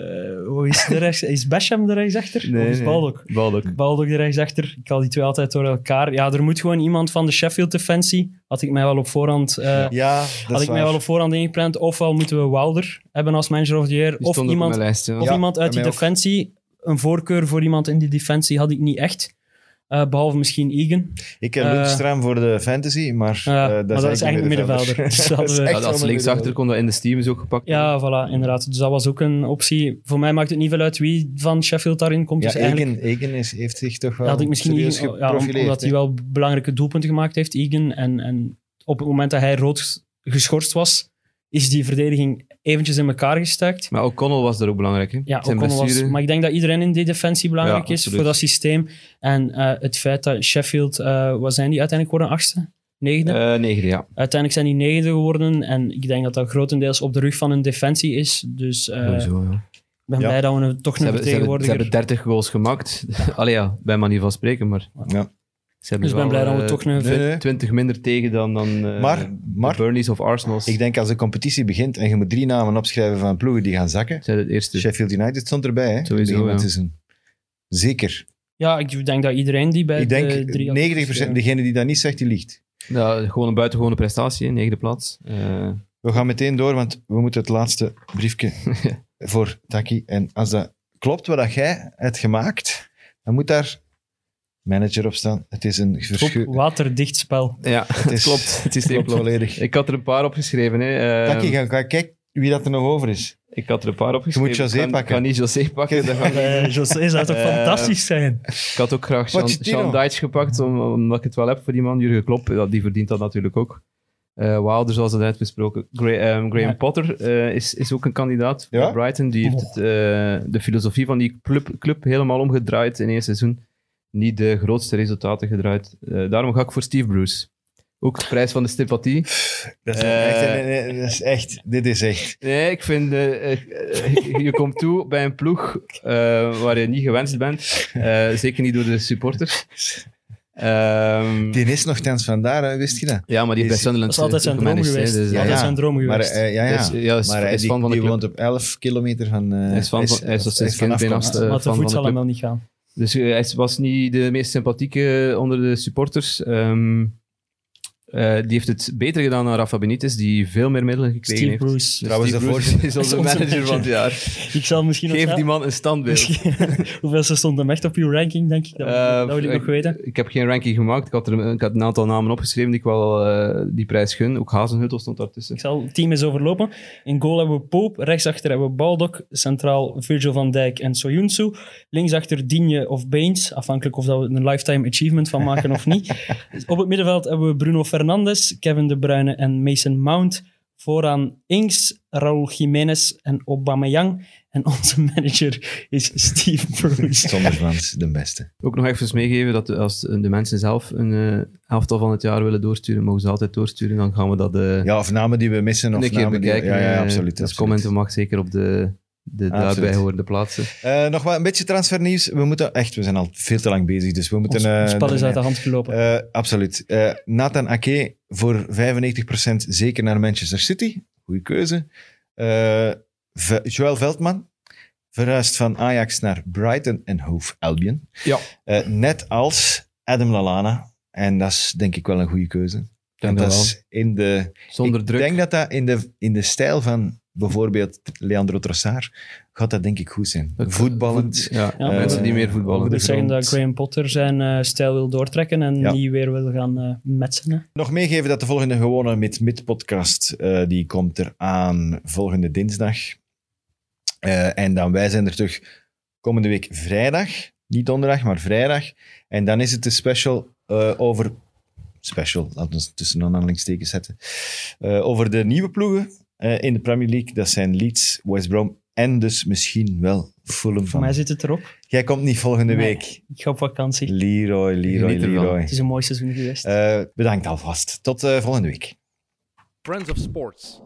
hoe is, de rechts, is Basham de rechtsachter? of is Baldock?
Baldock.
Baldock de rechtsachter. Ik haal die twee altijd door elkaar. Ja, er moet gewoon iemand van de Sheffield-defensie. Had ik mij wel op voorhand... eh,
Ja, dat
had
is
ik mij
waar.
wel op voorhand ingepland. Ofwel moeten we Wilder hebben als manager of the year.
Die
Of
stond ook op
iemand,
mijn lijst. ja.
of
Ja,
iemand uit
bij
die
mij ook.
defensie. Een voorkeur voor iemand in die defensie had ik niet echt. Eh, behalve misschien Egan.
Ik heb
Eh,
Lundstraam voor de fantasy, maar,
Ja,
eh,
maar dat is eigenlijk middenvelder. Dus dat hadden we-
echt
Ja, als
wel een
linksachter kon dat in de Steams ook gepakt worden.
Ja, voilà, inderdaad. Dus dat was ook een optie. Voor mij maakt het niet veel uit wie van Sheffield daarin komt.
Ja,
dus eigenlijk
Egen, Egen is, heeft zich toch wel
had ik misschien
serieus
Egan, ja, om-
geprofileerd.
omdat hij
hè?
wel belangrijke doelpunten gemaakt heeft, Egan. En, en op het moment dat hij rood geschorst was, is die verdediging eventjes in elkaar gestuikt.
Maar O'Connell was daar ook belangrijk, hè?
Ja,
Zijn
Ocon was,
blessure.
maar ik denk dat iedereen in die defensie belangrijk
Ja,
is
absoluut.
voor dat systeem. En eh, het feit dat Sheffield, eh wat zijn die uiteindelijk geworden? Achtste? Negende?
Eh, negende, ja.
uiteindelijk zijn die negende geworden. En ik denk dat dat grotendeels op de rug van een defensie is. Dus eh, ik
Sowieso, ja.
ben
Ja.
blij dat we het toch
Ze
een
hebben, ze, hebben, ze
vertegenwoordiger...
hebben 30 goals gemaakt. Allee ja, bij manier van spreken, maar...
Ja.
Ze hebben
dus ik ben
wel,
blij dat we
eh,
toch een...
Nee, nee.
20 minder tegen dan, dan eh,
Maar,
de
maar
Burnleys of Arsenals.
ik denk als de competitie begint en je moet drie namen opschrijven van ploegen die gaan zakken.
zijn het eerste.
Sheffield United stond erbij, hè?
Sowieso,
begin van het
ja.
seizoen. Zeker.
Ja, ik denk dat iedereen die bij
Ik
de
eh,
denk
drie...
90% degene die dat niet zegt, die liegt.
Ja, gewoon een buitengewone prestatie, hè, negende plaats. Eh,
We gaan meteen door, want we moeten het laatste briefje voor Taki. En als dat klopt wat dat jij hebt gemaakt, dan moet daar manager op staan. Het is een
Top,
verschil.
waterdicht spel.
ja, het,
is-
klopt. Het is
Klopt
klopt.
volledig.
Ik had er een paar opgeschreven. Hè. Eh,
Taki, ga, ga kijken wie dat er nog over is.
ik had er een paar opgeschreven.
moet José
Ik kan-
pakken.
Ik kan niet José pakken. dat ga ik-
Eh, José zou toch
Eh,
fantastisch zijn?
ik had ook graag Sean,
Pochettino.
Sean Dyche gepakt, om- omdat ik het wel heb voor die man. Jurgen Klopp, dat- die verdient dat natuurlijk ook. Eh Wilder, zoals dat net besproken. Gra- eh, Graham
Ja.
Potter eh, is, is ook een kandidaat voor
Ja?
Brighton. Die heeft het, eh, de filosofie van die club, club helemaal omgedraaid in één seizoen. Niet de grootste resultaten gedraaid. Eh, daarom ga ik voor Steve Bruce. Ook prijs van de sympathie.
Dat is,
Eh.
echt, nee, nee, nee, dat is echt, dit is echt.
Nee, ik vind, eh, eh, eh, je komt toe bij een ploeg eh, waar je niet gewenst bent. Eh, zeker niet door de supporters. Ehm,
Die is nogthans van daar, hè, wist je dat?
ja, maar die
is-
heeft bij Sunderland
Dat is altijd
eh,
zijn droom
gemanaged, hè,
geweest. Dat
dus,
is
ja,
altijd
ja.
zijn droom
Maar
geweest.
eh, ja, ja.
Dus, ja, is-
maar hij
is
die,
fan van de
die
club.
woont op 11 kilometer van... eh,
Hij is fan van- hij is al sinds kind
vanaf
bijna
komt.
sta-
maar
eh, fan
te
van
voet
de
zal hem
club.
wel niet gaan.
Dus eh, hij was niet de meest sympathieke eh, onder de supporters. Ehm, eh, die heeft het beter gedaan dan Rafa Benitez, die veel meer middelen gekregen
Steve
heeft.
Bruce.
Dus
Trouwens,
Steve
de
Bruce
voorzitter
is onze manager van het jaar.
Ik zal misschien nog
Geef
wel-
die man een standbeeld.
Hoeveel ze stonden echt op uw ranking, denk ik. Dat,
Eh,
dat wil ik nog weten.
Ik heb geen ranking gemaakt. Ik had, er, ik had een aantal namen opgeschreven die ik wel eh, die prijs gun. Ook Hazenhuttel stond daartussen.
Ik zal het team eens overlopen. In goal hebben we Pope, rechtsachter hebben we Baldock, centraal Virgil van Dijk en Soyuncu. Linksachter Digne of Baines, afhankelijk of dat we er een lifetime achievement van maken of niet. Op het middenveld hebben we Bruno Fernandes, Kevin De Bruyne en Mason Mount. Vooraan Ings, Raúl Jiménez en Aubameyang. En onze manager is Steve Bruce.
Sommermans, de beste.
Ook nog even meegeven dat als de mensen zelf een eh, elftal van het jaar willen doorsturen, mogen ze altijd doorsturen. Dan gaan we dat eh,
Ja, of namen die we missen. Of
een keer
namen die we-
bekijken.
ja, ja,
eh,
absoluut.
Dus
absoluut.
commenten mag zeker op de, de
Absoluut.
daarbij horende plaatsen.
Eh, nog wel een beetje transfernieuws. We moeten, echt, we zijn al veel te lang bezig, dus we moeten...
Ons, ons
eh,
pad is
erin-
uit de hand gelopen.
Eh, absoluut. Eh, Nathan Ake voor 95% zeker naar Manchester City. Goeie keuze. Eh, Ve- Joël Veldman verhuisd van Ajax naar Brighton en Hove Albion.
Ja.
Eh, net als Adam Lallana. En dat is denk ik wel een goede keuze.
Denk
dat
dat wel.
is in de,
Zonder
ik
druk.
denk dat dat in de, in de stijl van bijvoorbeeld Leandro Trossard gaat dat denk ik goed zijn.
Dat-
Voetballend.
voet- ja,
Ja,
mensen die
eh,
meer voetballen.
Ik moet
de
ook zeggen
grond.
dat Graham Potter zijn eh, stijl wil doortrekken en
Ja.
niet weer wil gaan eh metsen. hè.
Nog meegeven dat de volgende gewone Mid-Mid-podcast, eh, die komt eraan volgende dinsdag. Eh, en dan wij zijn er terug komende week vrijdag. Niet donderdag, maar vrijdag. En dan is het de special eh, over... Special, laten we het tussen aanhalingstekens zetten. Eh, over de nieuwe ploegen eh, in de Premier League. Dat zijn Leeds, West Brom en dus misschien wel Fulham.
Voor mij
Van.
zit het erop.
Jij komt niet volgende
Nee.
week.
Ik ga op vakantie.
Leroy, Leroy,
Geniet ervan.
Leroy.
Het is een mooi seizoen geweest.
Eh, bedankt alvast. Tot eh, volgende week.
Friends of Sports.